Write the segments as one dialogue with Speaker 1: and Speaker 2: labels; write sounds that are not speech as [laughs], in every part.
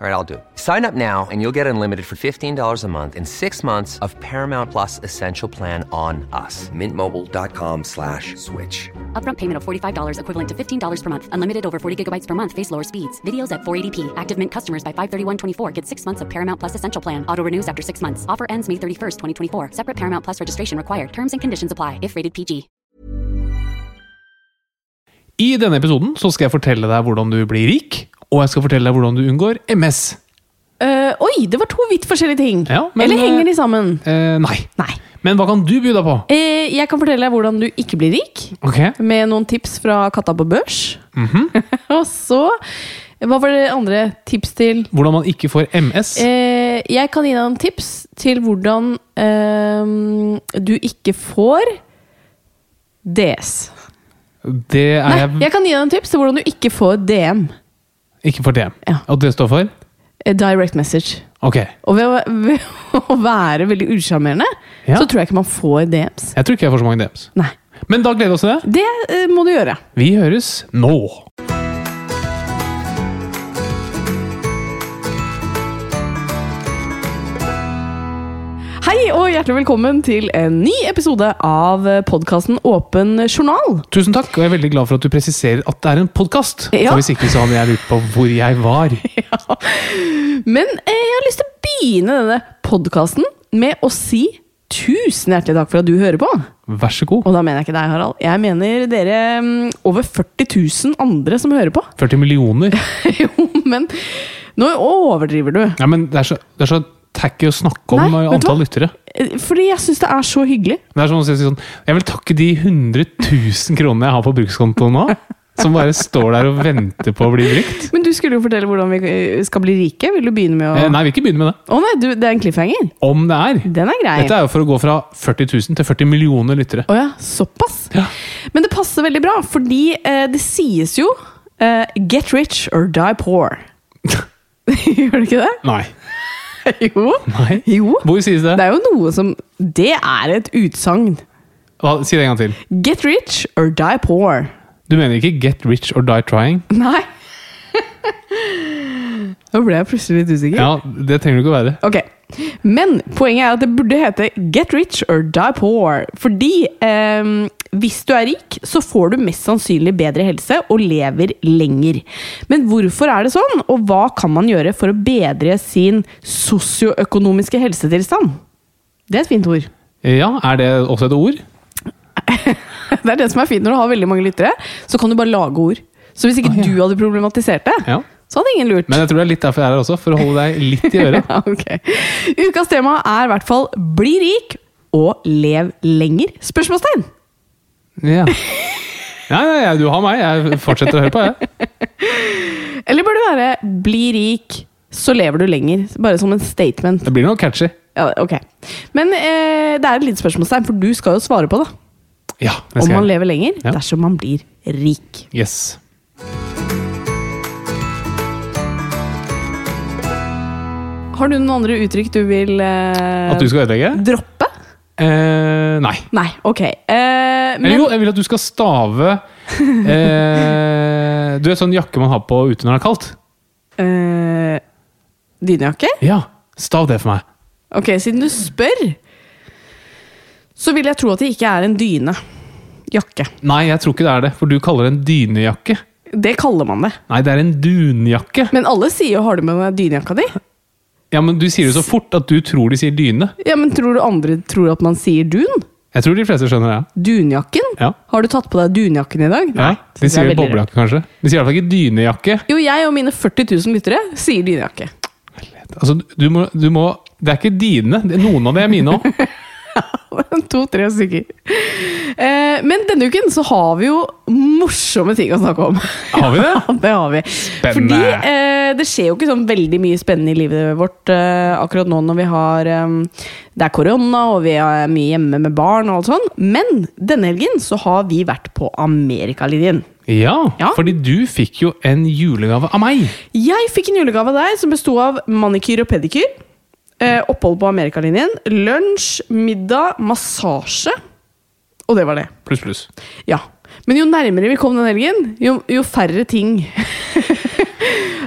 Speaker 1: All right, I'll do it. Sign up now and you'll get unlimited for $15 a month in six months of Paramount Plus Essential Plan on us. Mintmobile.com slash switch.
Speaker 2: Upfront payment of $45 equivalent to $15 per month. Unlimited over 40 gigabytes per month. Face lower speeds. Videos at 480p. Active Mint customers by 531.24 get six months of Paramount Plus Essential Plan. Auto renews after six months. Offer ends May 31st, 2024. Separate Paramount Plus registration required. Terms and conditions apply if rated PG.
Speaker 3: I denne episoden så skal jeg fortelle deg hvordan du blir rik, og jeg skal fortelle deg hvordan du unngår MS.
Speaker 4: Eh, oi, det var to vidt forskjellige ting.
Speaker 3: Ja, men,
Speaker 4: Eller henger de
Speaker 3: eh,
Speaker 4: sammen?
Speaker 3: Eh, nei.
Speaker 4: Nei.
Speaker 3: Men hva kan du by deg på?
Speaker 4: Eh, jeg kan fortelle deg hvordan du ikke blir rik,
Speaker 3: Ok,
Speaker 4: med noen tips fra Katta på børs.
Speaker 3: Mhm.
Speaker 4: [laughs] Og så Hva var det andre tips til?
Speaker 3: Hvordan man ikke får MS.
Speaker 4: Eh, jeg kan gi deg noen tips til hvordan eh, du ikke får DS.
Speaker 3: Det er
Speaker 4: Nei,
Speaker 3: jeg,
Speaker 4: jeg kan gi deg noen tips til hvordan du ikke får DM.
Speaker 3: ikke for DM.
Speaker 4: Ja.
Speaker 3: Og det står for?
Speaker 4: eh, Direct message.
Speaker 3: Ok.
Speaker 4: Og ved, å- [laughs] ved å være veldig usjarmerende,
Speaker 3: Ja.
Speaker 4: så tror jeg ikke man får DMs.
Speaker 3: Jeg tror ikke jeg får så mange DMs.
Speaker 4: Nei.
Speaker 3: Men da gleder vi oss til det.
Speaker 4: Det eh, må du gjøre.
Speaker 3: Vi høres nå.
Speaker 4: Hei og hjertelig velkommen til en ny episode av podkasten Åpen journal.
Speaker 3: Tusen takk, og jeg er veldig glad for at du presiserer at det er en podkast.
Speaker 4: Ja.
Speaker 3: For hvis ikke så hadde jeg lurt på hvor jeg var.
Speaker 4: Men eh, jeg har lyst til å begynne denne podkasten med å si tusen hjertelig takk for at du hører på.
Speaker 3: Vær så
Speaker 4: [laughs]
Speaker 3: god.
Speaker 4: Og da mener jeg ikke deg, Harald. Jeg mener dere mm, over 40 000 andre som hører på. [laughs]
Speaker 3: 40 millioner.
Speaker 4: jo, men nå overdriver du.
Speaker 3: Nei, men det er så, det er så tacky å snakke om
Speaker 4: Nei,
Speaker 3: eh,
Speaker 4: vet du
Speaker 3: antall
Speaker 4: hva?
Speaker 3: lyttere.
Speaker 4: Eh, Fordi jeg syns det er så hyggelig.
Speaker 3: Det er som å si sånn Jeg vil takke de 100 000 kronene jeg har på brukskontoen nå, som bare står der og venter på å bli brukt.
Speaker 4: Men du skulle jo fortelle hvordan vi eh, skal bli rike. Vil du begynne med å
Speaker 3: Eh, nei, vi vil ikke begynne med det.
Speaker 4: Å nei, du, det er en cliffhanger.
Speaker 3: Om det er.
Speaker 4: Den er grei.
Speaker 3: Dette er jo for å gå fra 40 000 til 40 millioner lyttere.
Speaker 4: Å ja, såpass?
Speaker 3: Ja.
Speaker 4: Men det passer veldig bra, fordi eh, det sies jo eh, Get rich or die poor. [laughs] Gjør det [laughs] ikke det?
Speaker 3: [laughs] Nei.
Speaker 4: Jo.
Speaker 3: Nei.
Speaker 4: Jo.
Speaker 3: Hvor sies det?
Speaker 4: Det er jo noe som Det er et utsagn.
Speaker 3: Hva, si det en gang til.
Speaker 4: Get rich or die poor. [laughs]
Speaker 3: Du mener ikke 'get rich or die trying'?
Speaker 4: Nei. [laughs] Nå ble jeg plutselig litt usikker.
Speaker 3: Ja, Det trenger du ikke å være.
Speaker 4: Ok, Men poenget er at det burde hete Get rich or die poor. Fordi eh, hvis du er rik, så får du mest sannsynlig bedre helse og lever lenger. Men hvorfor er det sånn, og hva kan man gjøre for å bedre sin sosioøkonomiske helsetilstand? Det er et fint ord. [laughs]
Speaker 3: Ja, Er det også et ord?
Speaker 4: Det er det som er fint når du har veldig mange lyttere. Så kan du bare lage ord. Så hvis ikke
Speaker 3: Ah, ja.
Speaker 4: du hadde problematisert det,
Speaker 3: Ja.
Speaker 4: så hadde ingen lurt.
Speaker 3: Men jeg tror det er litt derfor jeg er her også, for å holde deg litt i øret.
Speaker 4: [laughs] Ja, ok. Ukas tema er i hvert fall 'bli rik og lev lenger'? Spørsmålstegn!
Speaker 3: Ja. Nei, nei, nei, du har meg. Jeg fortsetter å høre på, jeg.
Speaker 4: Eller bør det være 'bli rik, så lever du lenger'? Bare som en statement.
Speaker 3: Det blir noe catchy.
Speaker 4: Ja, ok. Men eh, det er et lite spørsmålstegn, for du skal jo svare på det.
Speaker 3: Ja, det
Speaker 4: Om
Speaker 3: skal
Speaker 4: man
Speaker 3: jeg.
Speaker 4: lever lenger
Speaker 3: Ja.
Speaker 4: dersom man blir rik.
Speaker 3: Yes.
Speaker 4: Har du noen andre uttrykk du vil eh,
Speaker 3: At du skal ødelegge?
Speaker 4: droppe?
Speaker 3: Eh, nei.
Speaker 4: Nei, ok. Eh,
Speaker 3: Eller
Speaker 4: men
Speaker 3: jo, jeg vil at du skal stave
Speaker 4: [laughs]
Speaker 3: eh, Du vet sånn jakke man har på ute når det er kaldt?
Speaker 4: eh, Dynejakke?
Speaker 3: Ja, stav det for meg.
Speaker 4: Ok, siden du spør, så vil jeg tro at det ikke er en dyne. jakke.
Speaker 3: Nei, jeg tror ikke det er det, for du kaller det en dynejakke.
Speaker 4: Det kaller man det.
Speaker 3: Nei, det er en dunjakke.
Speaker 4: Men alle sier jo 'har du med deg dynejakka di'?
Speaker 3: Ja, men Du sier det så fort at du tror de sier dyne.
Speaker 4: Ja, men tror du andre tror at man sier dun?
Speaker 3: Jeg tror de fleste skjønner det.
Speaker 4: Dunjakken?
Speaker 3: Ja.
Speaker 4: Har du tatt på deg dunjakken i dag?
Speaker 3: Ja, de
Speaker 4: det er
Speaker 3: sier
Speaker 4: veldig rart.
Speaker 3: boblejakke, kanskje. De sier i hvert fall ikke dynejakke.
Speaker 4: Jo, jeg og mine 40 000 lyttere sier dynejakke.
Speaker 3: Altså, du må, du må, det er ikke dine. Det- Noen av det er mine òg.
Speaker 4: [laughs] [laughs] To-tre stykker. Eh, men denne uken så har vi jo morsomme ting å snakke om.
Speaker 3: Har vi det?
Speaker 4: Ja, [laughs] det har vi.
Speaker 3: Spennende.
Speaker 4: Fordi eh, det skjer jo ikke sånn veldig mye spennende i livet vårt eh, akkurat nå når vi har eh, Det er korona, og vi er mye hjemme med barn og alt sånn. Men denne helgen så har vi vært på Amerikalinjen.
Speaker 3: Ja,
Speaker 4: Ja.
Speaker 3: fordi du fikk jo en julegave av meg.
Speaker 4: Jeg fikk en julegave der som besto av manikyr og pedikyr. Eh, opphold på Amerikalinjen. Lunsj, middag, massasje. Og det var det.
Speaker 3: Pluss, pluss.
Speaker 4: Ja. Men jo nærmere vi kom den helgen, jo, jo færre
Speaker 3: [laughs]
Speaker 4: ting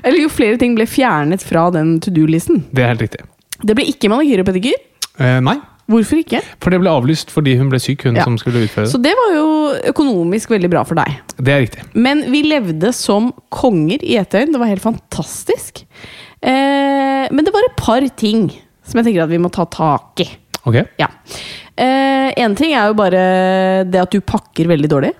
Speaker 4: Eller jo flere ting ble fjernet fra den to do-listen.
Speaker 3: Det er helt riktig.
Speaker 4: Det ble ikke manikyr og pedikyr.
Speaker 3: Eh, nei,
Speaker 4: Hvorfor ikke?
Speaker 3: for det ble avlyst fordi hun ble syk, hun
Speaker 4: Ja.
Speaker 3: som skulle utføre
Speaker 4: Så
Speaker 3: det.
Speaker 4: det var jo økonomisk veldig bra for deg.
Speaker 3: Det er riktig.
Speaker 4: Men vi levde som konger i Etøyen. Det var helt fantastisk. Eh, men det var et par ting som jeg tenker at vi må ta tak i.
Speaker 3: Ok,
Speaker 4: Ja. Én ting er jo bare det at du pakker veldig dårlig.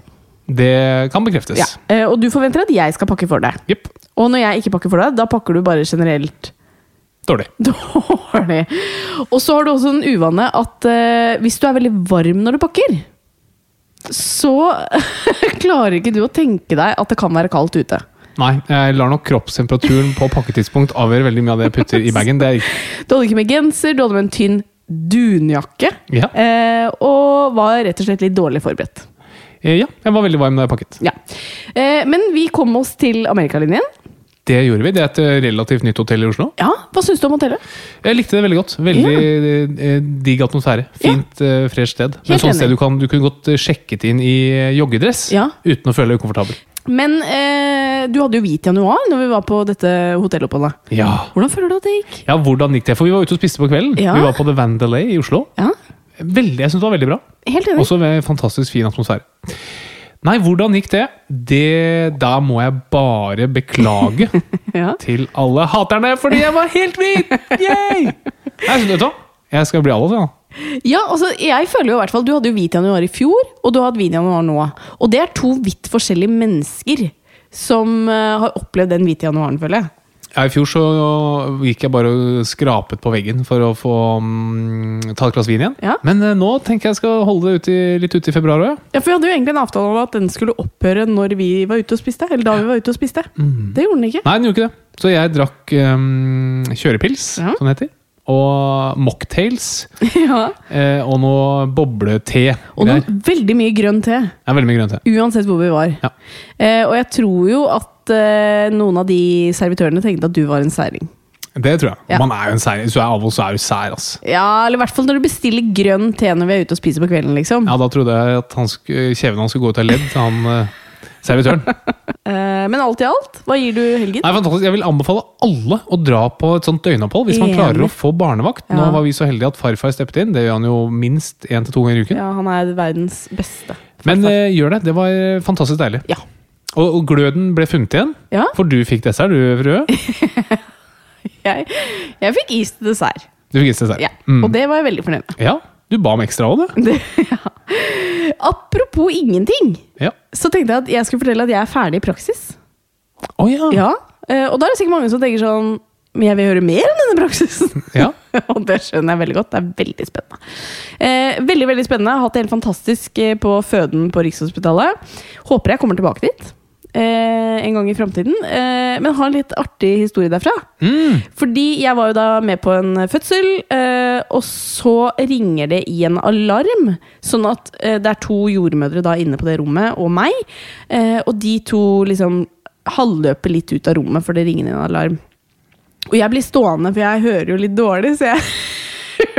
Speaker 3: Det kan bekreftes.
Speaker 4: Ja. Eh, og du forventer at jeg skal pakke for deg.
Speaker 3: Jepp.
Speaker 4: Og når jeg ikke pakker for deg, da pakker du bare generelt [laughs]
Speaker 3: Dårlig.
Speaker 4: dårlig. Og så har du også en uvane at eh, hvis du er veldig varm når du pakker, så [laughs] klarer ikke du å tenke deg at det kan være kaldt ute.
Speaker 3: Nei, jeg lar nok kroppstemperaturen på pakketidspunkt avgjøre veldig mye av det jeg putter i bagen. Det er riktig.
Speaker 4: Du hadde ikke med genser, du hadde med en tynn dunjakke.
Speaker 3: Ja.
Speaker 4: eh, og var rett og slett litt dårlig forberedt.
Speaker 3: Eh, ja, jeg var veldig varm da jeg pakket.
Speaker 4: Ja. Eh, men vi kom oss til Amerikalinjen.
Speaker 3: Det gjorde vi. Det er et eh, relativt nytt hotell i Oslo.
Speaker 4: Ja, Hva syns du om hotellet?
Speaker 3: Jeg likte det veldig godt. Veldig eh, digg atmosfære. Fint, ja. fresh sted. Men
Speaker 4: Helt
Speaker 3: sånn
Speaker 4: enig.
Speaker 3: sted du, kan, du kunne godt eh, sjekket inn i eh, joggedress
Speaker 4: Ja.
Speaker 3: uten å føle deg ukomfortabel.
Speaker 4: Men eh, du hadde jo hvit januar når vi var på dette hotelloppholdet.
Speaker 3: Ja.
Speaker 4: Hvordan føler du at det gikk?
Speaker 3: ja, hvordan gikk det? For vi var ute og spiste på kvelden.
Speaker 4: Ja.
Speaker 3: Vi var på The Vandelay i Oslo.
Speaker 4: Ja,
Speaker 3: Veldig, jeg synes det var veldig bra.
Speaker 4: Helt enig.
Speaker 3: Også med fantastisk fin atmosfære. Nei, hvordan gikk det? Det Da må jeg bare beklage
Speaker 4: [laughs] Ja.
Speaker 3: til alle haterne, fordi jeg var helt hvit! Yay! Nei, så vet du hva? Jeg skal bli alle, ja.
Speaker 4: Ja, altså, jeg føler jo i hvert fall Du hadde jo hvit januar i fjor, og du har hatt hvit januar nå. Og det er to vidt forskjellige mennesker som eh, har opplevd den hvite januaren, føler jeg.
Speaker 3: Ja, I fjor så gikk jeg bare og skrapet på veggen for å få mm, ta et glass vin igjen.
Speaker 4: Ja.
Speaker 3: Men eh, nå tenker jeg skal holde det ut i, litt ute i februar òg.
Speaker 4: Ja, for Vi hadde jo egentlig en avtale om at den skulle opphøre når vi var ute og spiste. Eller da vi var ute og spiste. Det gjorde den ikke.
Speaker 3: Nei, den gjorde ikke det. Så jeg drakk mm, kjørepils,
Speaker 4: Ja.
Speaker 3: som det heter. Og mocktails.
Speaker 4: [laughs] ja.
Speaker 3: Eh, og noe boblete.
Speaker 4: Og nå
Speaker 3: Det
Speaker 4: veldig mye grønn te.
Speaker 3: er veldig mye grønt te.
Speaker 4: Uansett hvor vi var.
Speaker 3: Ja.
Speaker 4: Eh, og jeg tror jo at eh, noen av de servitørene tenkte at du var en særing.
Speaker 3: Det tror jeg.
Speaker 4: Ja.
Speaker 3: Man er jo en sær. Hvis du er avholds, så er du sær, ass.
Speaker 4: Ja, eller i hvert fall når du bestiller grønn te når vi er ute og spiser på kvelden, liksom.
Speaker 3: Ja, da trodde jeg at han sk eh, kjeven hans skulle gå ut av ledd, han eh, servitøren.
Speaker 4: [laughs] Eh, men alt i alt, hva gir du helgen?
Speaker 3: Nei, fantastisk. Jeg vil anbefale alle å dra på et sånt døgnopphold hvis man
Speaker 4: Enig.
Speaker 3: klarer å få barnevakt. Nå
Speaker 4: Ja.
Speaker 3: var vi så heldige at farfar steppet inn. Det gjør han jo minst én til to ganger i uken.
Speaker 4: Ja, han er verdens beste.
Speaker 3: Men
Speaker 4: farfar.
Speaker 3: eh, gjør det. Det var eh, fantastisk deilig.
Speaker 4: Ja.
Speaker 3: Og, og gløden ble funnet igjen.
Speaker 4: Ja.
Speaker 3: eh, For du fikk dessert, du, frue.
Speaker 4: Jeg, jeg fikk is til dessert.
Speaker 3: Du fikk dessert.
Speaker 4: Ja.
Speaker 3: Mm.
Speaker 4: Og det var jeg veldig fornøyd med.
Speaker 3: ja. Du ba om ekstra òg, du.
Speaker 4: Det, ja. Apropos ingenting,
Speaker 3: Ja.
Speaker 4: så tenkte jeg at jeg skulle fortelle at jeg er ferdig i praksis.
Speaker 3: Å ja.
Speaker 4: Ja, eh, Og da er det sikkert mange som tenker sånn Men jeg vil høre mer om denne praksisen.
Speaker 3: Ja.
Speaker 4: [laughs] og det skjønner jeg veldig godt. Det er veldig spennende. Eh, veldig, veldig spennende. Har hatt det helt fantastisk eh, på føden på Rikshospitalet. Håper jeg kommer tilbake dit eh, en gang i framtiden. Eh, men har en litt artig historie derfra. Fordi jeg var jo da med på en fødsel, eh, og så ringer det i en alarm. Sånn at eh, det er to jordmødre da inne på det rommet, og meg. Eh, og de to liksom halvløper litt ut av rommet, for det ringer inn en alarm. Og jeg blir stående, for jeg hører jo litt dårlig, så jeg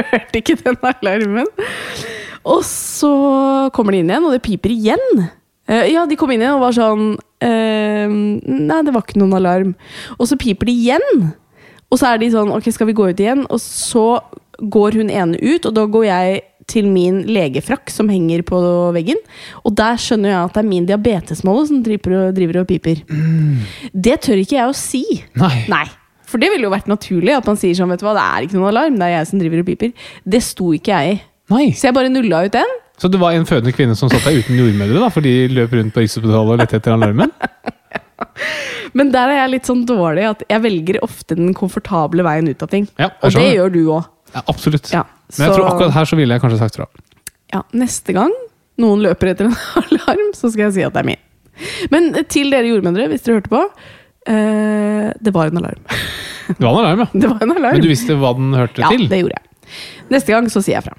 Speaker 4: [laughs] hørte ikke den alarmen. Og så kommer de inn igjen, og det piper igjen. Eh, ja, de kom inn igjen og var sånn eh, Nei, det var ikke noen alarm. Og så piper de igjen. Og så er de sånn Ok, skal vi gå ut igjen? Og så går hun ene ut, og da går jeg til min legefrakk som henger på veggen. Og der skjønner jeg at det er min diabetesmåle som driver og, driver og piper. Det tør ikke jeg å si.
Speaker 3: Nei.
Speaker 4: For det ville jo vært naturlig at man sier sånn, vet du hva, det er ikke noen alarm, det er jeg som driver og piper. Det sto ikke jeg i.
Speaker 3: Nei.
Speaker 4: Så jeg bare nulla ut den.
Speaker 3: Så det var en fødende kvinne som satt der uten jordmødre, da, for de løp rundt på Rikshospitalet og lette etter alarmen?
Speaker 4: Men der er jeg litt sånn dårlig at jeg velger ofte den komfortable veien ut av ting.
Speaker 3: Ja, jeg
Speaker 4: og det
Speaker 3: skjønner.
Speaker 4: gjør du òg.
Speaker 3: Ja, absolutt.
Speaker 4: Ja,
Speaker 3: Men jeg
Speaker 4: så-
Speaker 3: tror akkurat her så ville jeg kanskje sagt fra.
Speaker 4: Ja, neste gang noen løper etter en [laughs] alarm, så skal jeg si at det er min. Men eh, til dere jordmødre, hvis dere hørte på. eh, det var en alarm. [laughs]
Speaker 3: Det var en alarm, ja.
Speaker 4: Det var en alarm.
Speaker 3: Men du visste hva den hørte
Speaker 4: ja,
Speaker 3: til?
Speaker 4: det gjorde jeg. Neste gang så sier jeg fra.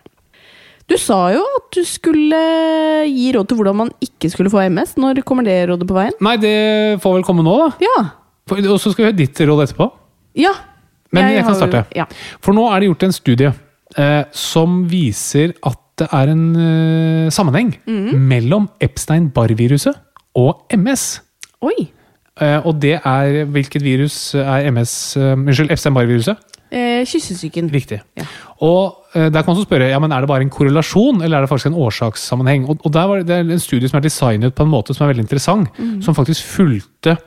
Speaker 4: Du sa jo at du skulle eh, gi råd til hvordan man ikke skulle få MS. Når kommer det rådet på veien?
Speaker 3: Nei, det får vel komme nå, da.
Speaker 4: Ja.
Speaker 3: For- Og så skal vi høre ditt råd etterpå.
Speaker 4: Ja.
Speaker 3: Men jeg, kan
Speaker 4: har jo-
Speaker 3: starte.
Speaker 4: Ja.
Speaker 3: For nå er det gjort en studie eh, som viser at det er en eh, sammenheng
Speaker 4: Mhm.
Speaker 3: mellom Epstein-Barr-viruset og MS.
Speaker 4: Oi.
Speaker 3: Eh, og det er Hvilket virus er MS eh, Unnskyld, Epstein-Barr-viruset?
Speaker 4: Eh, kyssesyken.
Speaker 3: Riktig.
Speaker 4: Ja.
Speaker 3: Og eh, der kan man også spørre ja, men er det bare en korrelasjon eller er det faktisk en årsakssammenheng. Og, og der var det, det er en studie som er designet på en måte som er veldig interessant, som faktisk fulgte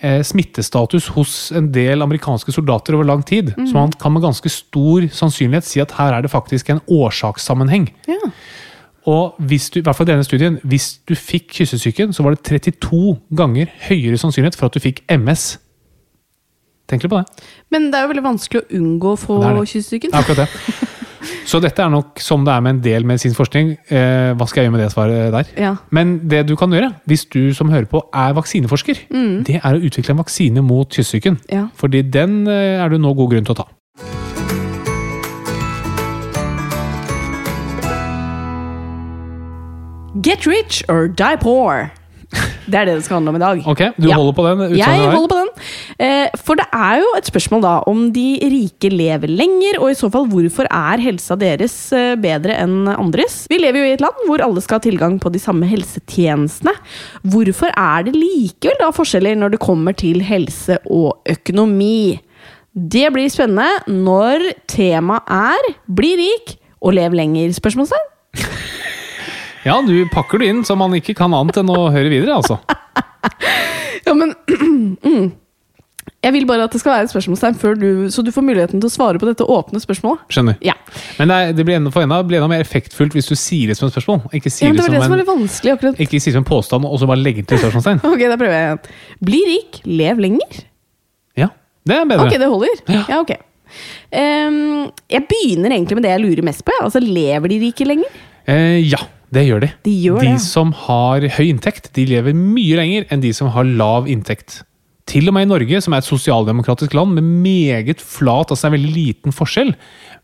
Speaker 3: eh, smittestatus hos en del amerikanske soldater over lang tid. Så man kan med ganske stor sannsynlighet si at her er det faktisk en årsakssammenheng.
Speaker 4: Ja.
Speaker 3: Og hvis du, i hvert fall i denne studien, hvis du fikk kyssesyken, så var det 32 ganger høyere sannsynlighet for at du fikk MS. Tenk litt på det.
Speaker 4: Men det er jo veldig vanskelig å unngå å få
Speaker 3: Ja, det er det.
Speaker 4: kyssesyken.
Speaker 3: Ja, akkurat det. Så dette er nok som det er med en del medisinsk forskning. Eh, hva skal jeg gjøre med det svaret der?
Speaker 4: Ja.
Speaker 3: Men det du kan gjøre, hvis du som hører på er vaksineforsker,
Speaker 4: Mm.
Speaker 3: det er å utvikle en vaksine mot kyssesyken.
Speaker 4: Ja.
Speaker 3: Fordi den eh, er det nå god grunn til å ta.
Speaker 4: Get rich or die poor. Det er det det skal handle om i dag.
Speaker 3: Ok, Du
Speaker 4: Ja.
Speaker 3: holder på den? utsagnet
Speaker 4: Jeg
Speaker 3: der?
Speaker 4: holder på den. Eh, For det er jo et spørsmål da om de rike lever lenger, og i så fall hvorfor er helsa deres eh, bedre enn andres? Vi lever jo i et land hvor alle skal ha tilgang på de samme helsetjenestene. Hvorfor er det likevel da forskjeller når det kommer til helse og økonomi? Det blir spennende når temaet er 'bli rik og lev lenger'? spørsmålstegn.
Speaker 3: Ja, du pakker det inn så man ikke kan annet enn å høre videre, altså.
Speaker 4: Ja, men [clears throat] mm. Jeg vil bare at det skal være et spørsmålstegn, før du, så du får muligheten til å svare på dette åpne spørsmålet.
Speaker 3: Skjønner.
Speaker 4: Ja.
Speaker 3: Men det, er, det blir enda, for enda, blir enda mer effektfullt hvis du sier det som et spørsmål. Ikke
Speaker 4: Ja,
Speaker 3: sier
Speaker 4: men det
Speaker 3: det,
Speaker 4: var det som
Speaker 3: som
Speaker 4: var
Speaker 3: en,
Speaker 4: litt vanskelig akkurat.
Speaker 3: ikke sier det som en påstand, og så bare legge til spørsmålstegn.
Speaker 4: Ok, da prøver jeg igjen. Bli rik, lev lenger.
Speaker 3: Ja, det er bedre.
Speaker 4: Ok, det holder. Ja, ok. Ehm, jeg begynner egentlig med det jeg lurer mest på. Ja. Altså, Lever de rike lenger?
Speaker 3: Eh, ja, det gjør de.
Speaker 4: De gjør det, ja.
Speaker 3: som har høy inntekt, de lever mye lenger enn de som har lav inntekt. Til og med i Norge, som er et sosialdemokratisk land med meget flat, altså en veldig liten forskjell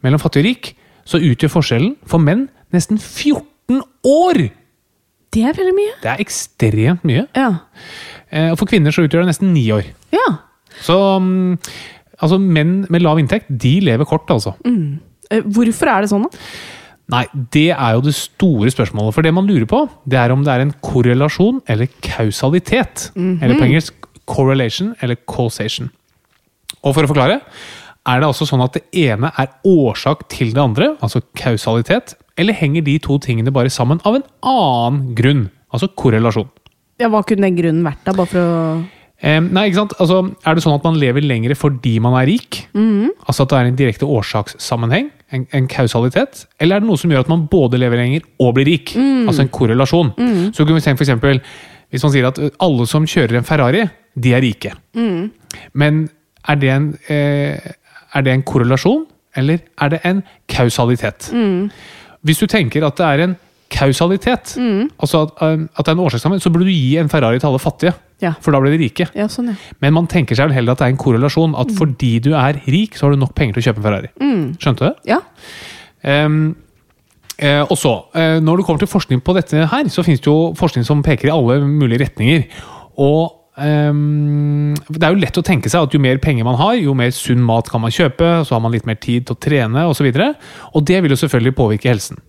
Speaker 3: mellom fattig og rik, så utgjør forskjellen for menn nesten 14 år!
Speaker 4: Det er veldig mye.
Speaker 3: Det er ekstremt mye.
Speaker 4: Ja.
Speaker 3: Eh, og for kvinner så utgjør det nesten ni år.
Speaker 4: ja.
Speaker 3: Så mm, altså, menn med lav inntekt, de lever kort, altså.
Speaker 4: Eh, Hvorfor er det sånn, da?
Speaker 3: Nei, det er jo det store spørsmålet. For det man lurer på, det er om det er en korrelasjon eller kausalitet. Eller på engelsk correlation eller causation. Og for å forklare, er det altså sånn at det ene er årsak til det andre, altså kausalitet, eller henger de to tingene bare sammen av en annen grunn, altså korrelasjon?
Speaker 4: Ja, Hva kunne den grunnen vært, da? Bare for å
Speaker 3: Eh, nei, ikke sant? Altså, er det sånn at man lever lengre fordi man er rik? Altså at det er en direkte årsakssammenheng? En, en kausalitet? Eller er det noe som gjør at man både lever lenger og blir rik? Altså en korrelasjon. Så kunne vi tenkt for eksempel, hvis man sier at ø, alle som kjører en Ferrari, de er rike. Men er det en, eh, er det en korrelasjon, eller er det en kausalitet? Hvis du tenker at det er en kausalitet, altså at, um, at det er en årsakssammenheng, så burde du gi en Ferrari til alle fattige.
Speaker 4: Ja.
Speaker 3: For da blir de rike.
Speaker 4: Ja, sånn, ja.
Speaker 3: Men man tenker seg vel heller at det er en korrelasjon. At fordi du er rik, så har du nok penger til å kjøpe en Ferrari. Skjønte du det?
Speaker 4: Ja.
Speaker 3: Ehm, eh, og så, eh, når det kommer til forskning på dette her, så finnes det jo forskning som peker i alle mulige retninger. Og ehm, det er jo lett å tenke seg at jo mer penger man har, jo mer sunn mat kan man kjøpe, så har man litt mer tid til å trene osv. Og, så og det vil jo selvfølgelig påvirke helsen.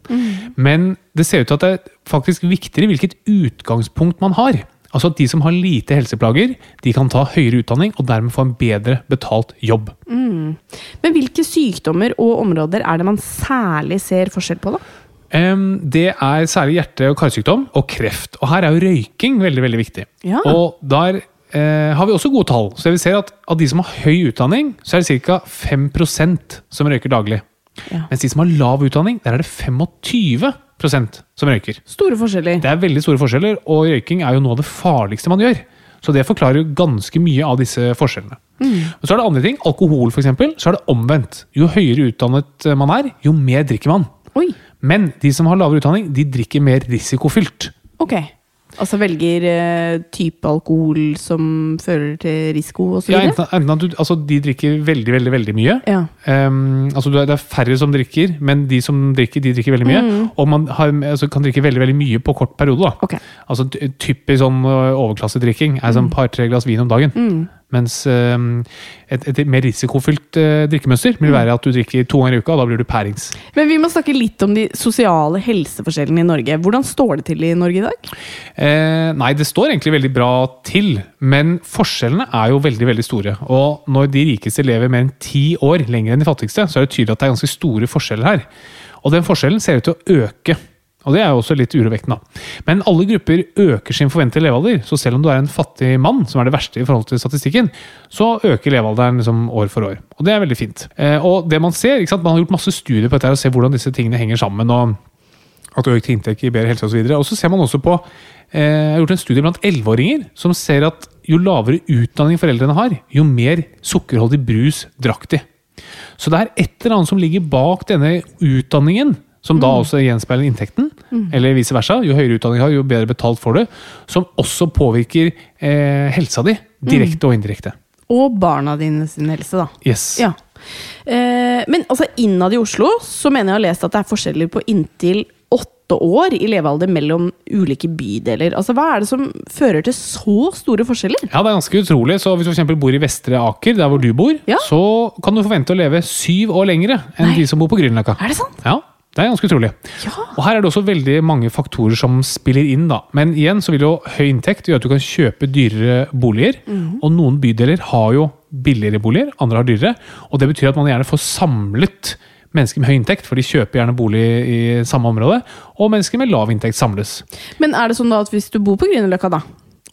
Speaker 3: Men det ser ut til at det er faktisk viktigere hvilket utgangspunkt man har. Altså at de som har lite helseplager, de kan ta høyere utdanning og dermed få en bedre betalt jobb.
Speaker 4: Men hvilke sykdommer og områder er det man særlig ser forskjell på, da?
Speaker 3: Em, det er særlig hjerte- og karsykdom og kreft. Og her er jo røyking veldig veldig viktig.
Speaker 4: Ja.
Speaker 3: Og der eh, har vi også gode tall. Så vi ser at av de som har høy utdanning, så er det ca. 5 som røyker daglig.
Speaker 4: Ja.
Speaker 3: Mens de som har lav utdanning, der er det 25 som røyker.
Speaker 4: Store forskjeller.
Speaker 3: Det er veldig store forskjeller, og røyking er jo noe av det farligste man gjør. Så det forklarer jo ganske mye av disse forskjellene. Og Så er det andre ting. Alkohol, for eksempel, så er det omvendt. Jo høyere utdannet man er, jo mer drikker man.
Speaker 4: Oi,
Speaker 3: Men de som har lavere utdanning, de drikker mer risikofylt.
Speaker 4: ok. Altså velger eh, type alkohol som fører til risiko og så
Speaker 3: Ja,
Speaker 4: videre?
Speaker 3: enten, enten at du, altså, de drikker veldig, veldig, veldig mye.
Speaker 4: Ja.
Speaker 3: Ehm, altså, du er- det er færre som drikker, men de som drikker, de drikker veldig mye. Og man har, altså, kan drikke veldig, veldig mye på kort periode. da.
Speaker 4: Mm. Ok. Mm.
Speaker 3: Altså ty- Typisk sånn ø, overklassedrikking er sånn par-tre glass vin om dagen. Mens øhm, et, et mer risikofylt ø, drikkemønster
Speaker 4: Mm.
Speaker 3: vil være at du drikker to ganger i uka, og da blir du pærings.
Speaker 4: Men vi må snakke litt om de sosiale helseforskjellene i Norge. Hvordan står det til i Norge i dag?
Speaker 3: Eh, nei, det står egentlig veldig bra til, men forskjellene er jo veldig veldig store. Og når de rikeste lever mer enn ti år lenger enn de fattigste, så er det tydelig at det er ganske store forskjeller her. Og den forskjellen ser ut til å øke. Og det er jo også litt urovekkende. da. Men alle grupper øker sin forventede levealder, så selv om du er en fattig mann, som er det verste i forhold til statistikken, så øker levealderen liksom år for år. Og det er veldig fint. Eh, og det man ser, ikke sant? man har gjort masse studier på dette her og ser hvordan disse tingene henger sammen. og at økt inntekt gir bedre helse osv. Og så ser man også på eh, Jeg har gjort en studie blant 11-åringer som ser at jo lavere utdanning foreldrene har, jo mer sukkerholdig brus drakk de. Så det er et eller annet som ligger bak denne utdanningen, som da også gjenspeiler inntekten, eller vice versa. Jo høyere utdanning du har, jo bedre betalt får du. Som også påvirker eh, helsa di, direkte og indirekte.
Speaker 4: Og barna dine sin helse, da.
Speaker 3: Yes.
Speaker 4: Ja. Eh, men altså innad i Oslo så mener jeg å ha lest at det er forskjeller på inntil åtte år i levealder mellom ulike bydeler. Altså Hva er det som fører til så store forskjeller?
Speaker 3: Ja, det er ganske utrolig. Så hvis du for eksempel bor i Vestre Aker, der hvor du bor,
Speaker 4: Ja.
Speaker 3: så kan du forvente å leve syv år lengre enn
Speaker 4: Nei.
Speaker 3: de som bor på Grünerløkka.
Speaker 4: Er det sant?
Speaker 3: Ja, det er ganske utrolig. Og her er det også veldig mange faktorer som spiller inn, da. Men igjen så vil jo høy inntekt gjøre at du kan kjøpe dyrere boliger.
Speaker 4: Mhm.
Speaker 3: Og noen bydeler har jo billigere boliger, andre har dyrere. Og det betyr at man gjerne får samlet mennesker med høy inntekt, for de kjøper gjerne bolig i samme område. Og mennesker med lav inntekt samles.
Speaker 4: Men er det sånn da at hvis du bor på Grünerløkka da,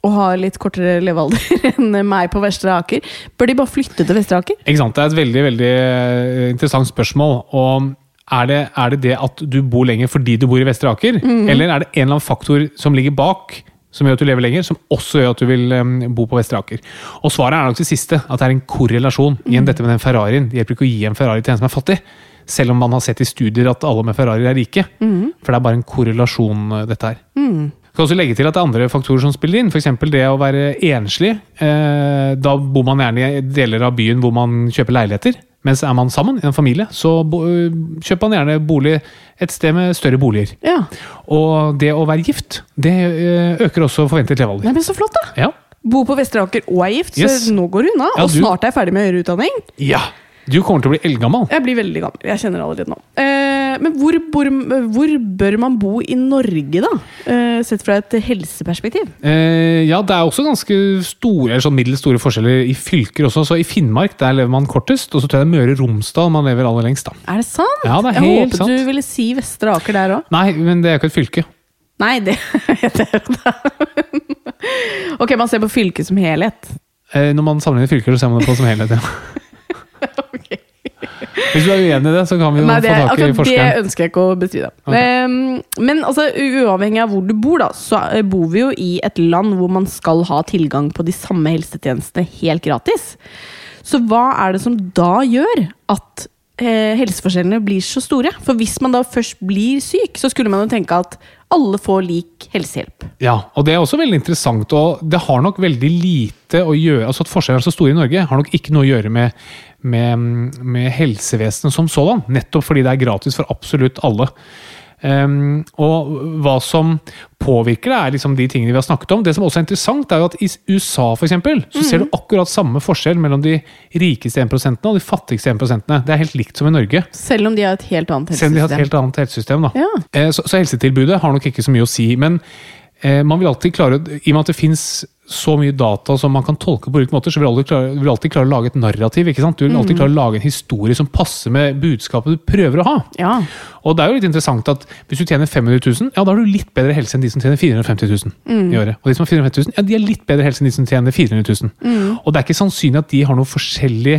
Speaker 4: og har litt kortere levealder [laughs] enn meg på Vestre Aker, bør de bare flytte til Vestre Aker?
Speaker 3: Ikke sant? Det er et veldig veldig eh, interessant spørsmål. og er det, er det det at du bor lenger fordi du bor i Vestre Aker? Eller er det en eller annen faktor som ligger bak, som gjør at du lever lenger, som også gjør at du vil eh, bo på Vestre Aker? Og svaret er nok det siste, at det er en korrelasjon. Igjen dette med den Ferrarien. Det hjelper ikke å gi en Ferrari til en som er fattig. Selv om man har sett i studier at alle med Ferrari er rike. For det er bare en korrelasjon, eh, dette her. Kan også legge til at det er andre faktorer som spiller inn, f.eks. det å være enslig. Eh, da bor man gjerne i deler av byen hvor man kjøper leiligheter. Mens er man sammen, i en familie, så bo, eh, kjøper man gjerne bolig et sted med større boliger.
Speaker 4: Ja.
Speaker 3: Og det å være gift, det eh, øker også forventet levealder.
Speaker 4: Nei, men Så flott, da!
Speaker 3: Ja.
Speaker 4: Bor på Vestre Aker og er gift,
Speaker 3: Yes.
Speaker 4: så nå går det unna.
Speaker 3: Ja,
Speaker 4: og
Speaker 3: du-
Speaker 4: snart er jeg ferdig med høyere utdanning.
Speaker 3: ja! Du kommer til å bli eldgammel.
Speaker 4: Jeg blir veldig gammel. Jeg kjenner det allerede nå. Eh, men hvor, bor, hvor bør man bo i Norge, da? Eh, sett fra et helseperspektiv.
Speaker 3: Eh, ja, det er også ganske store, eller sånn middels store forskjeller i fylker også. Så i Finnmark der lever man kortest, og så tror jeg det er Møre og Romsdal man lever aller lengst. da.
Speaker 4: Er det sant?
Speaker 3: Ja, det er
Speaker 4: jeg
Speaker 3: helt
Speaker 4: håpet
Speaker 3: sant.
Speaker 4: du ville si Vestre Aker der òg.
Speaker 3: Nei, men det er jo ikke et fylke.
Speaker 4: Nei, det [laughs] vet jeg jo da. Ok, man ser på fylket som helhet.
Speaker 3: Eh, Når man sammenligner fylker, så ser man det på som helhet.
Speaker 4: [laughs]
Speaker 3: Ja. Hvis du er uenig i det, så kan vi jo
Speaker 4: Nei, det,
Speaker 3: få tak i
Speaker 4: akkurat det
Speaker 3: forskeren.
Speaker 4: ønsker jeg ikke å bestride.
Speaker 3: Ok.
Speaker 4: Ehm, men altså, u- uavhengig av hvor du bor, da, så eh, bor vi jo i et land hvor man skal ha tilgang på de samme helsetjenestene helt gratis. Så hva er det som da gjør at eh, helseforskjellene blir så store? For hvis man da først blir syk, så skulle man jo tenke at alle får lik helsehjelp.
Speaker 3: Ja, og det er også veldig interessant. Og det har nok veldig lite å gjøre Altså at forskjellene er så store i Norge, har nok ikke noe å gjøre med, med, med helsevesenet som sådan. Nettopp fordi det er gratis for absolutt alle. Ehm, og hva som påvirker det, er liksom de tingene vi har snakket om. Det som også er interessant, er jo at i USA for eksempel, så ser du akkurat samme forskjell mellom de rikeste 1 og de fattigste 1 Det er helt likt som i Norge.
Speaker 4: Selv om de har et helt annet
Speaker 3: Selv om de har et
Speaker 4: helsesystem.
Speaker 3: helt annet helsesystem, da.
Speaker 4: Ja.
Speaker 3: Eh, Så, så helsetilbudet har nok ikke så mye å si. Men eh, man vil alltid klare, å- I og med at det fins så mye data som man kan tolke på ulike måter, så vil alltid klare, du vil alltid klare å lage et narrativ. ikke sant? Du vil
Speaker 4: Mm.
Speaker 3: alltid klare å lage en historie som passer med budskapet du prøver å ha.
Speaker 4: Ja.
Speaker 3: Og det er jo litt interessant at hvis du tjener 500 000, ja, da har du litt bedre helse enn de som tjener 450 000 i året. Og de som har 450 000, ja, de har litt bedre helse enn de som tjener 400 000. Og det er ikke sannsynlig at de har noe forskjellig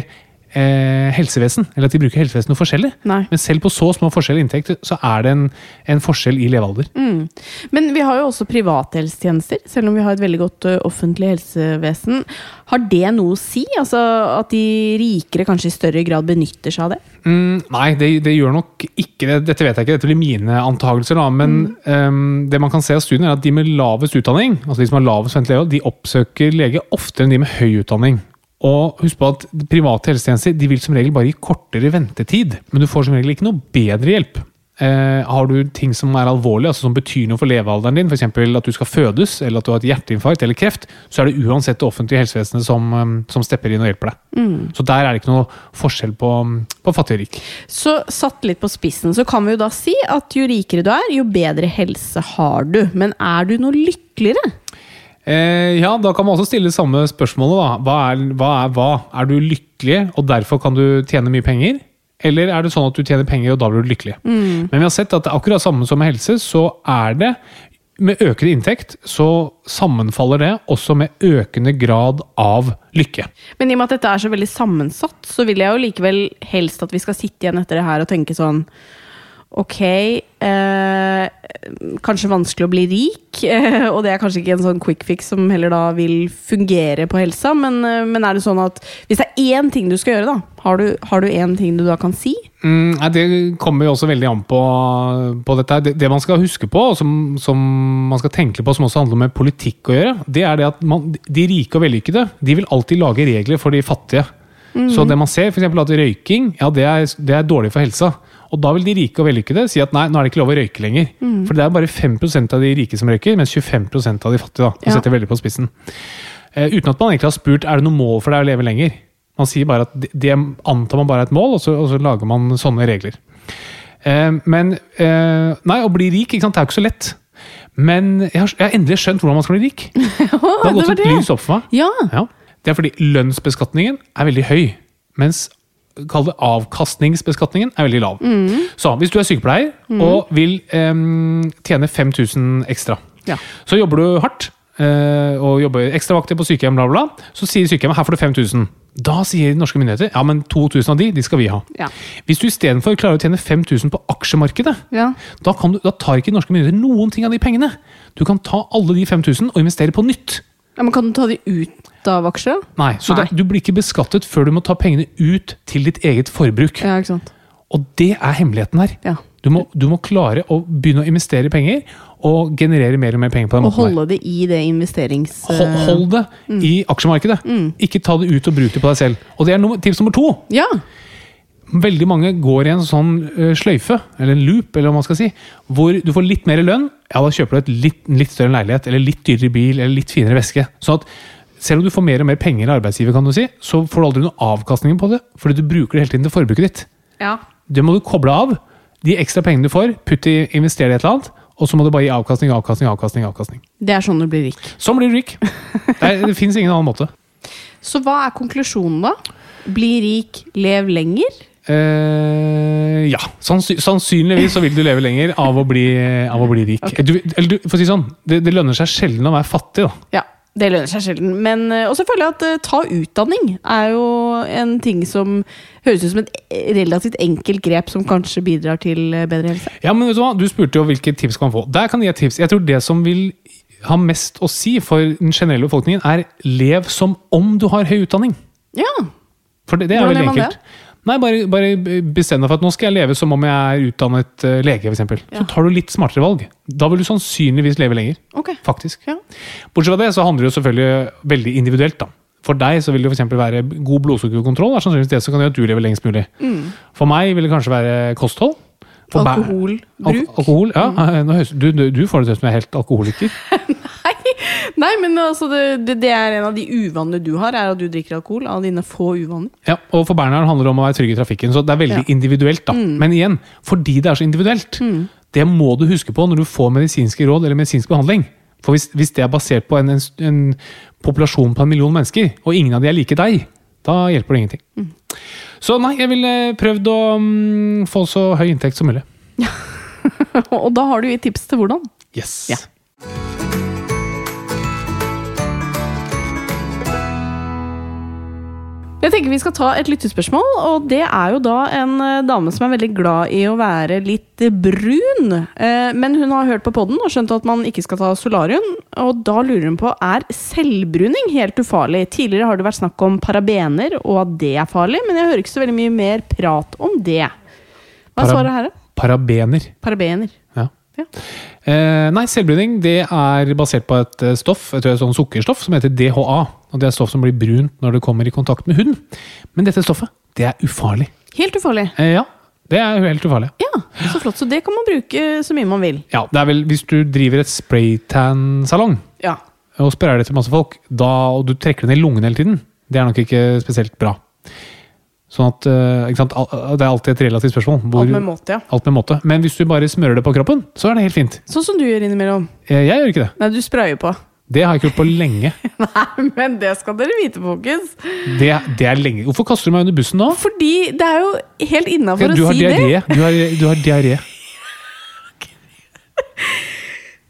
Speaker 3: eh, helsevesen, eller at de bruker helsevesen noe forskjellig.
Speaker 4: Nei.
Speaker 3: Men selv på så små forskjell i inntekt, så er det en, en forskjell i levealder.
Speaker 4: Men vi har jo også privathelsetjenester, selv om vi har et veldig godt ø, offentlig helsevesen. Har det noe å si? Altså At de rikere kanskje i større grad benytter seg av det?
Speaker 3: Mm, nei, det, det gjør nok ikke det. Dette vet jeg ikke, dette blir mine antakelser. da, Men ehm, det man kan se av studien er at de med lavest utdanning altså de som har lavest forventet levealder, de oppsøker lege oftere enn de med høy utdanning. Og husk på at Private helsetjenester de vil som regel bare gi kortere ventetid, men du får som regel ikke noe bedre hjelp. Eh, har du ting som er alvorlig, altså som betyr noe for levealderen din, f.eks. at du skal fødes, eller at du har et hjerteinfarkt eller kreft, så er det uansett det offentlige helsevesenet som, eh, som stepper inn og hjelper deg. Så der er det ikke noe forskjell på, på fattig og rik.
Speaker 4: Så satt litt på spissen, så kan vi jo da si at jo rikere du er, jo bedre helse har du. Men er du noe lykkeligere?
Speaker 3: Eh, ja, da kan man også stille samme spørsmålet, da. Hva er, hva er hva? Er du lykkelig, og derfor kan du tjene mye penger? Eller er det sånn at du tjener penger, og da blir du lykkelig? Men vi har sett at det er akkurat samme som med helse, så er det med økende inntekt så sammenfaller det også med økende grad av lykke.
Speaker 4: Men i og med at dette er så veldig sammensatt, så vil jeg jo likevel helst at vi skal sitte igjen etter det her og tenke sånn Ok, eh, kanskje vanskelig å bli rik, [laughs] eh, og det er kanskje ikke en sånn quick fix som heller da vil fungere på helsa, men, eh, men er det sånn at hvis det er én ting du skal gjøre, da, har du, har du én ting du da kan si?
Speaker 3: Mm, nei, det kommer jo også veldig an på, på dette. her. Det, det man skal huske på, og som, som man skal tenke på, som også handler med politikk å gjøre, det er det at man, de rike og vellykkede de vil alltid lage regler for de fattige. Så det man ser, f.eks. at røyking ja, det er, det er dårlig for helsa. Og da vil de rike og vellykkede si at nei, nå er det ikke lov å røyke lenger. For det er bare 5 av de rike som røyker, mens 25 av de fattige. da, og
Speaker 4: Ja.
Speaker 3: setter veldig på spissen. Eh, uten at man egentlig har spurt er det noe mål for deg å leve lenger. Man sier bare at det, det antar man bare er et mål, og så, og så lager man sånne regler. Eh, men eh, Nei, å bli rik ikke sant? det er jo ikke så lett. Men jeg har, jeg har endelig skjønt hvordan man skal bli rik.
Speaker 4: [laughs]
Speaker 3: Det har
Speaker 4: det
Speaker 3: gått
Speaker 4: var
Speaker 3: et
Speaker 4: det.
Speaker 3: lys opp for meg.
Speaker 4: Ja.
Speaker 3: Ja. Det er fordi lønnsbeskatningen er veldig høy, mens kall det avkastningsbeskatningen er veldig lav.
Speaker 4: Mm.
Speaker 3: Så hvis du er sykepleier og vil em, tjene 5000 ekstra,
Speaker 4: Ja.
Speaker 3: så jobber du hardt eh, og jobber ekstravakter på sykehjem, bla, bla, bla, så sier sykehjemmet her får du 5000. Da sier norske myndigheter ja, men 2000 av de, de skal vi ha.
Speaker 4: Ja.
Speaker 3: Hvis du istedenfor klarer å tjene 5000 på aksjemarkedet,
Speaker 4: Ja.
Speaker 3: da, kan du, da tar ikke norske myndigheter noen ting av de pengene. Du kan ta alle de 5000 og investere på nytt.
Speaker 4: ja men kan du ta de ut av aksjer? da?
Speaker 3: Nei, så
Speaker 4: Nei.
Speaker 3: Det, du blir ikke beskattet før du må ta pengene ut til ditt eget forbruk.
Speaker 4: Ja, ikke sant.
Speaker 3: Og det er hemmeligheten her.
Speaker 4: Ja.
Speaker 3: Du, må, du må klare å begynne å investere penger, og generere mer og mer penger på den
Speaker 4: Og
Speaker 3: måten. her.
Speaker 4: holde mm. det i det investerings...
Speaker 3: Hold, hold det i aksjemarkedet.
Speaker 4: Mm.
Speaker 3: Ikke ta det ut og bruk det på deg selv. Og det er nummer, tips nummer to.
Speaker 4: Ja.
Speaker 3: Veldig mange går i en sånn eh, sløyfe, eller en loop, eller hva man skal si, hvor du får litt mer lønn, ja, da kjøper du et litt, en litt større leilighet, eller litt dyrere bil, eller litt finere veske. Så at selv om du får mer og mer penger av arbeidsgiver, kan du si, så får du aldri noe avkastning på det, fordi du bruker det hele tiden til forbruket ditt.
Speaker 4: ja.
Speaker 3: Det må du koble av. De ekstra pengene du får, putt i, invester i et eller annet, og så må du bare gi avkastning, avkastning, avkastning. avkastning.
Speaker 4: Det er sånn du blir rik.
Speaker 3: Sånn blir du rik. Det, er- det fins ingen annen måte.
Speaker 4: Så hva er konklusjonen da? Bli rik, lev lenger?
Speaker 3: Eh, ja. Sannsy sannsynligvis så vil du leve lenger av å bli, av å bli rik. Du, eller du, for å si sånn, det, det lønner seg sjelden å være fattig, da.
Speaker 4: Ja, det lønner seg sjelden. Men, eh, og så føler jeg at eh, ta utdanning er jo en ting som høres ut som et eh, relativt enkelt grep som kanskje bidrar til eh, bedre helse.
Speaker 3: Ja, men vet Du hva? Du spurte jo hvilke tips kan man få. Der kan jeg gi et tips. Jeg tror det som vil ha mest å si for den generelle befolkningen, er lev som om du har høy utdanning.
Speaker 4: Ja,
Speaker 3: For det, det er
Speaker 4: Hvordan
Speaker 3: veldig
Speaker 4: gjør man
Speaker 3: enkelt. Nei, bare, bare bestem deg for at nå skal jeg leve som om jeg er utdannet eh, lege, f.eks.
Speaker 4: Ja.
Speaker 3: Så tar du litt smartere valg. Da vil du sannsynligvis leve lenger.
Speaker 4: ok.
Speaker 3: Faktisk.
Speaker 4: Ja.
Speaker 3: Bortsett fra det så handler det jo selvfølgelig veldig individuelt. da. For deg så vil det for eksempel være god blodsukkerkontroll. er sannsynligvis det som kan gjøre at du lever lengst mulig.
Speaker 4: Mm.
Speaker 3: For meg vil det kanskje være kosthold. For meg- Al
Speaker 4: Alkoholbruk. Mm.
Speaker 3: alkohol, ja. Nå høres- Du, du, du får det til som jeg er helt alkoholiker.
Speaker 4: Nei, men altså, det, det, det er en av de uvanene du har, er at du drikker alkohol av dine få uvaner.
Speaker 3: Ja, og for Bernhard handler det om å være trygg i trafikken. Så det er veldig
Speaker 4: Ja. Mm.
Speaker 3: individuelt. da. Men igjen, fordi det er så individuelt, det må du huske på når du får medisinske råd eller medisinsk behandling. For hvis, hvis det er basert på en, en, en populasjon på en million mennesker, og ingen av de er like deg, da hjelper det ingenting.
Speaker 4: Mm.
Speaker 3: Så nei, jeg ville prøvd å mm, få så høy inntekt som mulig.
Speaker 4: [laughs] Og da har du et tips til hvordan.
Speaker 3: Yes.
Speaker 4: Ja. Jeg tenker Vi skal ta et lyttespørsmål. og Det er jo da en eh, dame som er veldig glad i å være litt eh, brun. Eh, Men hun har hørt på podden og skjønt at man ikke skal ta solarium. og Da lurer hun på er selvbruning helt ufarlig. Tidligere har det vært snakk om parabener og at det er farlig, men jeg hører ikke så veldig mye mer prat om det. Hva er
Speaker 3: Para-
Speaker 4: svaret her? da?
Speaker 3: Parabener.
Speaker 4: Parabener.
Speaker 3: Ja.
Speaker 4: Ja.
Speaker 3: Eh, nei, selvbruning det er basert på et eh, stoff, jeg tror det er sånn sukkerstoff som heter DHA. og Det er stoff som blir brunt når det kommer i kontakt med huden. Men dette stoffet det er ufarlig.
Speaker 4: Helt ufarlig.
Speaker 3: Eh, ja, det er helt ufarlig.
Speaker 4: Ja, så flott. Så det kan man bruke så mye man vil.
Speaker 3: Ja, det er vel Hvis du driver et spraytan-salong
Speaker 4: Ja.
Speaker 3: og sprayer det til masse folk, da, og du trekker det ned i lungene hele tiden, det er nok ikke spesielt bra. Sånn at, eh, ikke sant, al- Det er alltid et relativt spørsmål. hvor-
Speaker 4: Alt med måte, ja.
Speaker 3: alt med måte. Men hvis du bare smører det på kroppen, så er det helt fint.
Speaker 4: Sånn som du gjør innimellom.
Speaker 3: Eh, Jeg gjør ikke det.
Speaker 4: Nei, du sprayer på.
Speaker 3: Det har jeg ikke gjort på lenge.
Speaker 4: [laughs] Nei, men det skal dere vite, folkens.
Speaker 3: Det, det er lenge. Hvorfor kaster du meg under bussen nå?
Speaker 4: Fordi det er jo helt innafor
Speaker 3: du
Speaker 4: å
Speaker 3: har
Speaker 4: si det.
Speaker 3: diaré. Du har, du har diaré.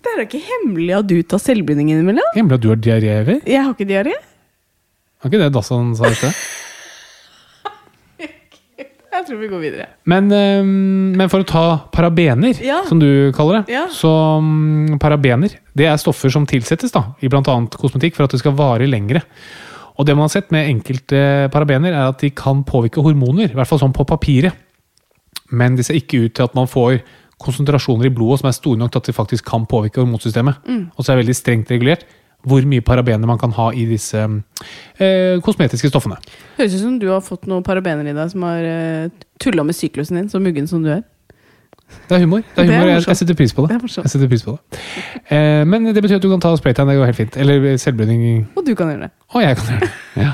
Speaker 4: Det er jo ikke hemmelig at du tar selvbinding innimellom.
Speaker 3: Hemmelig at du har diaré, Evy.
Speaker 4: Jeg har ikke diaré. [laughs]
Speaker 3: Var ikke det Dassan sa i sted?
Speaker 4: Jeg tror vi går videre.
Speaker 3: Men, ehm, men for å ta parabener,
Speaker 4: Ja.
Speaker 3: som du kaller det
Speaker 4: Ja.
Speaker 3: Så mm, parabener det er stoffer som tilsettes da, i bl.a. kosmetikk for at det skal vare lengre. Og det man har sett med enkelte parabener, er at de kan påvirke hormoner. I hvert fall sånn på papiret. Men det ser ikke ut til at man får konsentrasjoner i blodet som er store nok til at de faktisk kan påvirke hormonsystemet.
Speaker 4: Mm.
Speaker 3: Og så er det veldig strengt regulert hvor mye parabener man kan ha i disse eh, kosmetiske stoffene.
Speaker 4: Høres ut som du har fått noen parabener i deg som har uh, tulla med syklusen din, så muggen som du er.
Speaker 3: Det er humor. Det
Speaker 4: Det
Speaker 3: er
Speaker 4: er
Speaker 3: humor. Jeg,
Speaker 4: morsomt.
Speaker 3: jeg setter pris på det.
Speaker 4: Det er
Speaker 3: [laughs]
Speaker 4: morsomt.
Speaker 3: jeg setter pris på det. Eh, men det betyr at du kan ta spraytan. Det går helt fint. Eller selvbruning.
Speaker 4: Og du kan gjøre det.
Speaker 3: Å, jeg kan gjøre
Speaker 5: [laughs]
Speaker 3: det. Ja.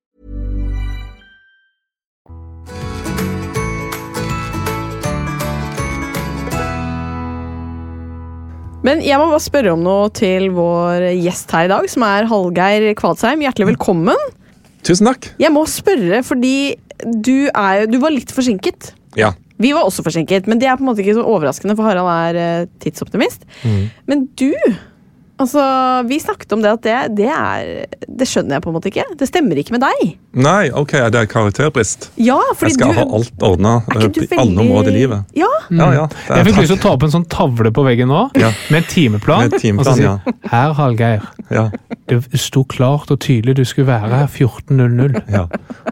Speaker 4: Men jeg må bare spørre om noe til vår gjest her i dag, som er Hallgeir Kvadsheim. Hjertelig velkommen.
Speaker 5: Mm. Tusen takk.
Speaker 4: Jeg må spørre, fordi du, er, du var litt forsinket.
Speaker 5: Ja.
Speaker 4: Vi var også forsinket, men det er på en måte ikke så overraskende, for Harald er eh, tidsoptimist.
Speaker 5: Mm.
Speaker 4: Men du Altså, vi snakket om det at det, det er Det skjønner jeg på en måte ikke. Det stemmer ikke med deg.
Speaker 5: Nei, ok, det er karakterbrist.
Speaker 4: Ja, fordi
Speaker 5: Jeg skal
Speaker 4: du
Speaker 5: ha alt ordna
Speaker 4: er
Speaker 5: eh,
Speaker 4: ikke du
Speaker 5: på alle
Speaker 4: veldig-
Speaker 5: områder i livet. Mm.
Speaker 4: Ja,
Speaker 5: Ja, ja. Det
Speaker 3: Jeg
Speaker 5: er
Speaker 3: fikk lyst til å
Speaker 5: takk.
Speaker 3: ta opp en sånn tavle på veggen nå,
Speaker 5: Ja.
Speaker 3: med timeplan.
Speaker 5: Med timeplan,
Speaker 3: og så si,
Speaker 5: ja.
Speaker 3: Herr Hallgeir,
Speaker 5: Ja.
Speaker 3: Det sto klart og tydelig du skulle være her 14.00.
Speaker 5: Ja.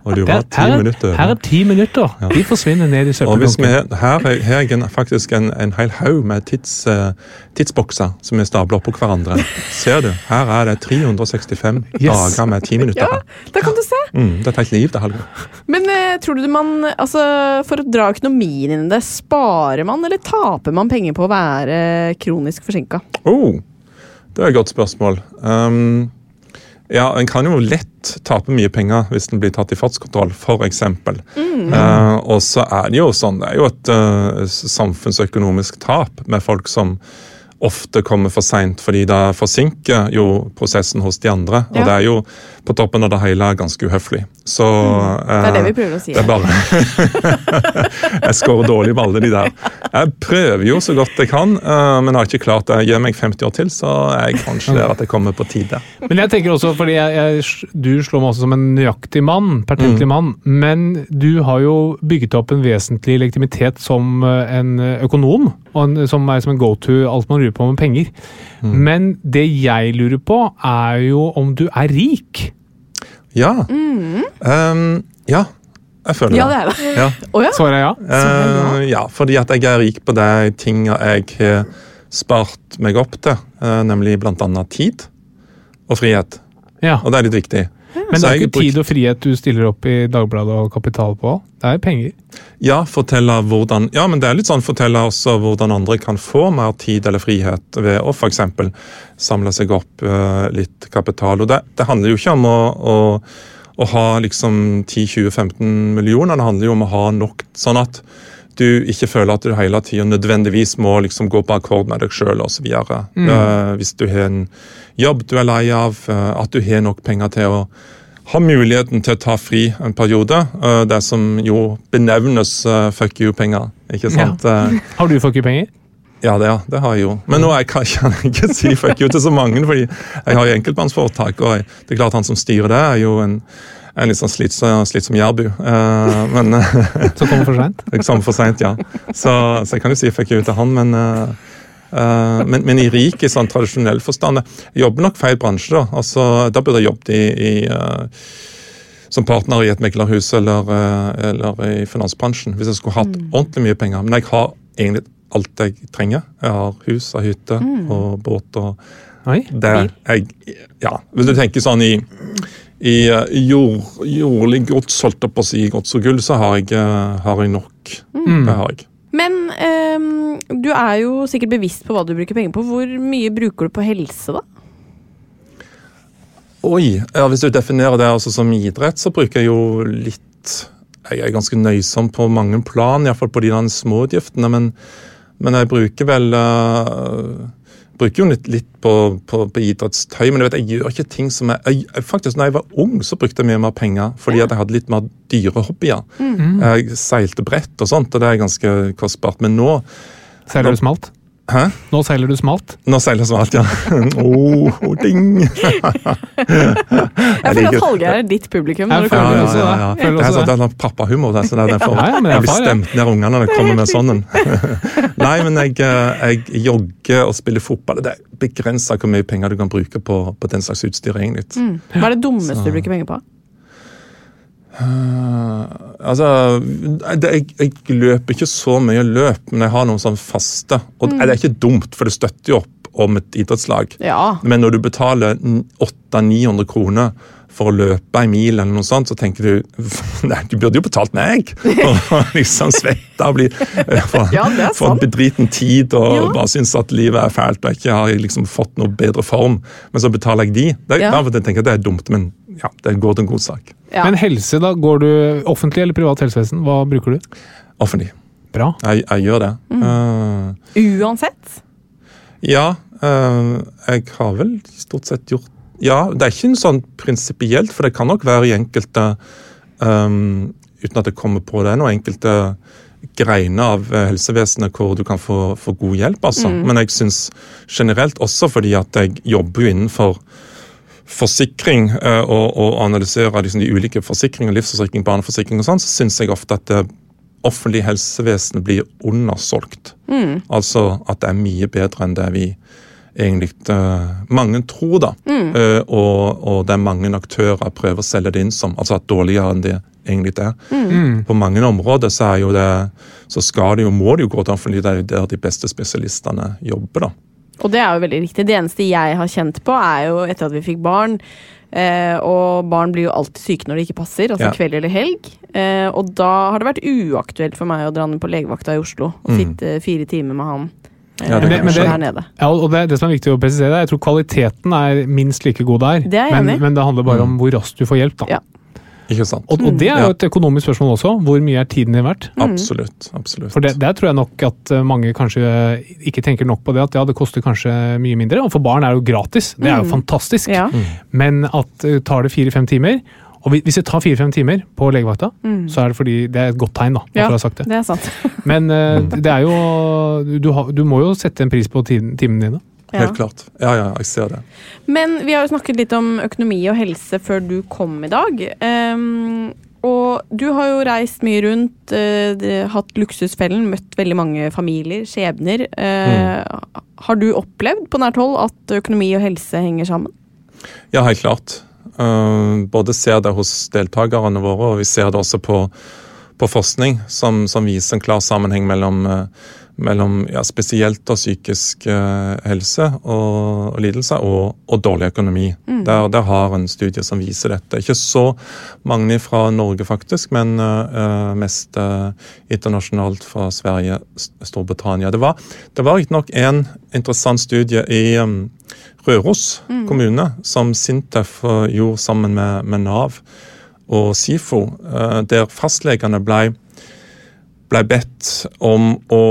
Speaker 5: Og du
Speaker 3: Der-
Speaker 5: var ti
Speaker 3: her, er-
Speaker 5: minutter.
Speaker 3: her er ti minutter! De forsvinner ned i
Speaker 5: Og hvis vi,
Speaker 3: søppeldunken.
Speaker 5: her, er- her er en- faktisk en, en hel haug med tids, eh, tidsbokser som er stabla oppå hverandre. Ser du? Her er det 365
Speaker 3: Yes.
Speaker 5: dager med ti minutter.
Speaker 4: Ja, der kan du se!
Speaker 5: Mm, det er et helt liv, det, Helge.
Speaker 4: Men eh, tror du man altså, For å dra økonomien inn i det, sparer man eller taper man penger på å være kronisk forsinka?
Speaker 5: Oh, det er et godt spørsmål. Um, ja, En kan jo lett tape mye penger hvis en blir tatt i fartskontroll, f.eks. Mm. og så er det jo sånn, det er jo et eh, s- samfunnsøkonomisk tap med folk som ofte kommer for seint, fordi det forsinker jo prosessen hos de andre.
Speaker 4: Ja.
Speaker 5: Og det er jo på toppen av det hele ganske uhøflig. Så
Speaker 4: Det er det
Speaker 5: eh,
Speaker 4: vi prøver å si.
Speaker 5: det er bare [laughs] Jeg scorer dårlig på alle de der. Jeg prøver jo så godt jeg kan, eh, men har ikke klart det. Gi meg 50 år til, så er jeg kanskje der at jeg kommer på tide.
Speaker 3: Men jeg tenker også, fordi jeg, jeg, du slår meg også som en nøyaktig mann, pertentlig mann, men du har jo bygget opp en vesentlig legitimitet som eh, en økonom, og en, som er som en go-to alt man lurer på med penger. Men det jeg lurer på, er jo om du er rik.
Speaker 5: Ja. Um, ja, jeg føler
Speaker 4: Ja, det er det.
Speaker 5: Ja.
Speaker 4: Å ja?
Speaker 3: Svarer jeg ja?
Speaker 5: Eh, ja, fordi at jeg er rik på de tinga jeg har spart meg opp til, eh, nemlig bl.a. tid og frihet.
Speaker 3: Ja.
Speaker 5: Og det er litt viktig.
Speaker 3: Men
Speaker 5: Så
Speaker 3: det er
Speaker 5: jeg
Speaker 3: ikke tid og frihet du stiller opp i Dagbladet og Kapital på. Det er penger.
Speaker 5: Ja, fortelle hvordan, ja, men det er litt sånn fortelle også hvordan andre kan få mer tid eller frihet ved å f.eks. samle seg opp eh, litt kapital. Og det, det handler jo ikke om å, å, å ha liksom 10-20-15 millioner, det handler jo om å ha nok sånn at du ikke føler at du hele tida nødvendigvis må liksom gå på akkord med deg sjøl osv. videre. Eh, hvis du har en jobb du er lei av, eh, at du har nok penger til å har muligheten til å ta fri en periode. eh, Det som jo benevnes eh, fuck you-penger. Ikke sant? Eh,
Speaker 3: Har du fått ikke penger?
Speaker 5: Ja, det, ja, det har jeg jo. Men nå er jeg, kan kan [laughs] jeg ikke si fuck you til så mange, fordi jeg har jo enkeltmannsforetak, og jeg, det er klart han som styrer det, er jo en, en litt sånn slitsom, slitsom jærbu. Eh, Men eh,
Speaker 3: Som kommer for seint?
Speaker 5: Eksamen for seint, ja. Så, så jeg kan jo si fikk jeg ut av han, men eh, eh, men, men i rik, i sånn tradisjonell forstand Jeg jobber nok feil bransje, da. Altså, da burde jeg jobbet i, i eh, som partner i et meglerhus eller, eh, eller i finansbransjen. Hvis jeg skulle hatt ordentlig mye penger. Men jeg har egentlig alt jeg trenger. Jeg har hus, jeg har hytte og båt og
Speaker 3: Oi.
Speaker 5: det jeg, ja, Hvis du tenker sånn i, i eh, jord, jordlig gods, holdt jeg på å si, gods og gull, så har jeg, eh, har jeg nok.
Speaker 3: Mm.
Speaker 5: Det har jeg.
Speaker 4: Men ehm, du er jo sikkert bevisst på hva du bruker penger på. Hvor mye bruker du på helse, da?
Speaker 5: Oi, ja, Hvis du definerer det også som idrett, så bruker jeg jo litt Jeg er ganske nøysom på mange plan, iallfall på de der småutgiftene, men, men jeg bruker vel eh, bruker jo litt, litt på, på, på idrettstøy, men du vet, jeg gjør ikke ting som jeg, jeg jeg- Faktisk, når jeg var ung, så brukte jeg mye mer penger fordi at jeg hadde litt mer dyre hobbyer. Jeg seilte brett og sånt, og det er ganske kostbart. Men nå
Speaker 3: Seiler du smalt?
Speaker 5: Hæ?
Speaker 3: Nå seiler du smalt?
Speaker 5: Nå seiler jeg smalt, ja. oh, oh, ding!
Speaker 4: Jeg føler
Speaker 5: liker-
Speaker 4: at Hallgeir er ditt publikum.
Speaker 3: Jeg
Speaker 4: når det
Speaker 3: føler
Speaker 4: kommer
Speaker 3: det
Speaker 4: til
Speaker 5: Ja,
Speaker 3: også,
Speaker 5: ja, ja,
Speaker 3: da.
Speaker 5: ja.
Speaker 3: Føler
Speaker 5: Det er
Speaker 3: også
Speaker 5: sånn,
Speaker 3: det.
Speaker 5: den har pappahumor. det er sånn, den får,
Speaker 3: Ja, ja, men det er
Speaker 5: jeg blir
Speaker 3: far, ja.
Speaker 5: stemt ned ungene når de kommer
Speaker 3: [laughs]
Speaker 5: med sånn en. [laughs] Nei, men jeg, eh, jeg jogger og spiller fotball. Det er begrensa hvor mye penger du kan bruke på, på den slags utstyr. egentlig.
Speaker 4: det. Mm. Hva er det dummeste du bruker penger på?
Speaker 3: Mm.
Speaker 5: Eh, altså, det, jeg, jeg løper ikke så mye løp, men jeg har noen sånn faste. Og
Speaker 3: Mm.
Speaker 5: det er ikke dumt, for det støtter jo opp om et idrettslag.
Speaker 4: Ja.
Speaker 5: Men når du betaler n- 800-900 kroner for å løpe en mil, eller noe sånt, så tenker du [laughs] nei, du burde jo betalt meg! [laughs] Og liksom svette og bli for,
Speaker 4: Ja, det er
Speaker 5: for en
Speaker 4: sant.
Speaker 5: bedriten tid og
Speaker 4: Ja.
Speaker 5: bare synes at livet er fælt og jeg ikke har liksom fått noe bedre form. Men så betaler jeg de. Det,
Speaker 4: Ja.
Speaker 5: Av og til tenker jeg det er dumt, men ja, det går til en god sak.
Speaker 4: Ja.
Speaker 3: Men helse, da? Går du offentlig eller privat helsevesen? Hva bruker du?
Speaker 5: Offentlig.
Speaker 3: Bra.
Speaker 5: Jeg, jeg gjør det.
Speaker 4: Mm.
Speaker 5: Eh,
Speaker 4: Uansett.
Speaker 5: Ja, øh, jeg har vel stort sett gjort Ja, det er ikke en sånn prinsipielt, for det kan nok være i enkelte øhm, Uten at jeg kommer på det nå, enkelte greiner av eh, helsevesenet hvor du kan få, få god hjelp, altså. Men jeg syns generelt også fordi at jeg jobber jo innenfor forsikring eh, og, og analyserer liksom de ulike forsikringene, livsforsikring, barneforsikring og sånn, så syns jeg ofte at det offentlige helsevesenet blir undersolgt. Altså at det er mye bedre enn det vi egentlig eh, mange tror, da. Eh, og, og det er mange aktører prøver å selge det inn som altså at dårligere enn det egentlig er.
Speaker 3: Mm.
Speaker 5: På mange områder så, er jo det, så skal det jo, må det jo gå til offentlig, det er jo der de beste spesialistene jobber. da.
Speaker 4: Og det er jo veldig riktig. Det eneste jeg har kjent på, er jo etter at vi fikk barn. Eh, og barn blir jo alltid syke når det ikke passer, altså
Speaker 5: Ja.
Speaker 4: kveld eller helg. Eh, og da har det vært uaktuelt for meg å dra ned på legevakta i Oslo og sitte fire timer med han eh,
Speaker 5: Mm. Ja, det
Speaker 3: kan jeg skjønne.
Speaker 4: her nede.
Speaker 3: Ja, og det, det som er viktig å presisere, er jeg tror kvaliteten er minst like god der.
Speaker 4: Det er jeg
Speaker 3: men,
Speaker 4: enig i.
Speaker 3: men det handler bare om hvor raskt du får hjelp. da.
Speaker 4: Ja.
Speaker 5: Ikke sant?
Speaker 3: Og, og det er
Speaker 5: Ja.
Speaker 3: jo et økonomisk spørsmål også. Hvor mye er tiden din verdt?
Speaker 5: Absolutt. absolutt.
Speaker 3: For det, der tror jeg nok at eh, mange kanskje eh, ikke tenker nok på det at ja, det koster kanskje mye mindre. Og for barn er det jo gratis, det er jo fantastisk.
Speaker 4: Mm. Ja.
Speaker 5: Mm.
Speaker 3: Men at eh, tar det fire-fem timer Og hvi- hvis det tar fire-fem timer på legevakta, så er det fordi det er et godt tegn. da, bare
Speaker 4: Mm. Ja,
Speaker 3: for å ha sagt det.
Speaker 4: det er sant.
Speaker 3: Men eh, det er jo du, har- du må jo sette en pris på tiden, timene dine.
Speaker 4: Ja.
Speaker 5: Helt klart. Ja, ja, jeg ser det.
Speaker 4: Men vi har jo snakket litt om økonomi og helse før du kom i dag. Ehm, og du har jo reist mye rundt, eh, det- hatt luksusfellen, møtt veldig mange familier, skjebner. Eh, Har du opplevd på nært hold at økonomi og helse henger sammen?
Speaker 5: Ja, helt klart. Eh, både ser det hos deltakerne våre, og vi ser det også på, på forskning, som, som viser en klar sammenheng mellom, eh, mellom ja, spesielt da psykisk eh, helse og, og lidelser, og, og dårlig økonomi. Der, der har en studie som viser dette. Ikke så mange fra Norge, faktisk, men eh, eh, mest eh, internasjonalt fra Sverige, S- Storbritannia. Det var, det var ikke nok en interessant studie i eh, Røros kommune, som Sintef eh, gjorde sammen med, med Nav og SIFO, eh, der fastlegene ble, ble bedt om å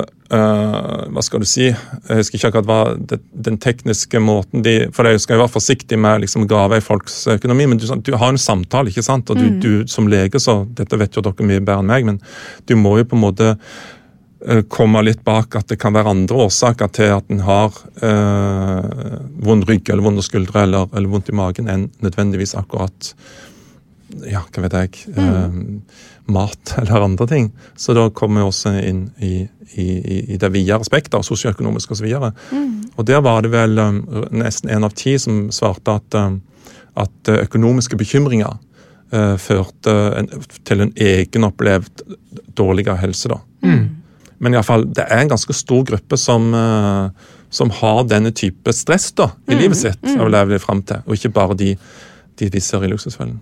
Speaker 5: eh, hva skal du si Jeg husker ikke akkurat hva det, den tekniske måten de For jeg skal jo være forsiktig med liksom å grave i folks økonomi, men du, sånn, du har en samtale, ikke sant? Og du, du som lege, så dette vet jo dere mye bedre enn meg, men du må jo på en måte eh, komme litt bak at det kan være andre årsaker til at en har eh, vond rygg eller vonde skuldre eller, eller vondt i magen enn nødvendigvis akkurat ja, hva vet jeg, eh, mat eller andre ting. Så da kommer vi også inn i, i, i- i det videre spekteret, sosioøkonomisk osv. videre. Og der var det vel eh, nesten én av ti som svarte at, eh, at økonomiske bekymringer eh, førte en, til en egenopplevd dårligere helse, da. Men i alle fall, det er en ganske stor gruppe som, eh, som har denne type stress da, i livet sitt. og lever det frem til, Og ikke bare de, de vi ser i luksusfellen.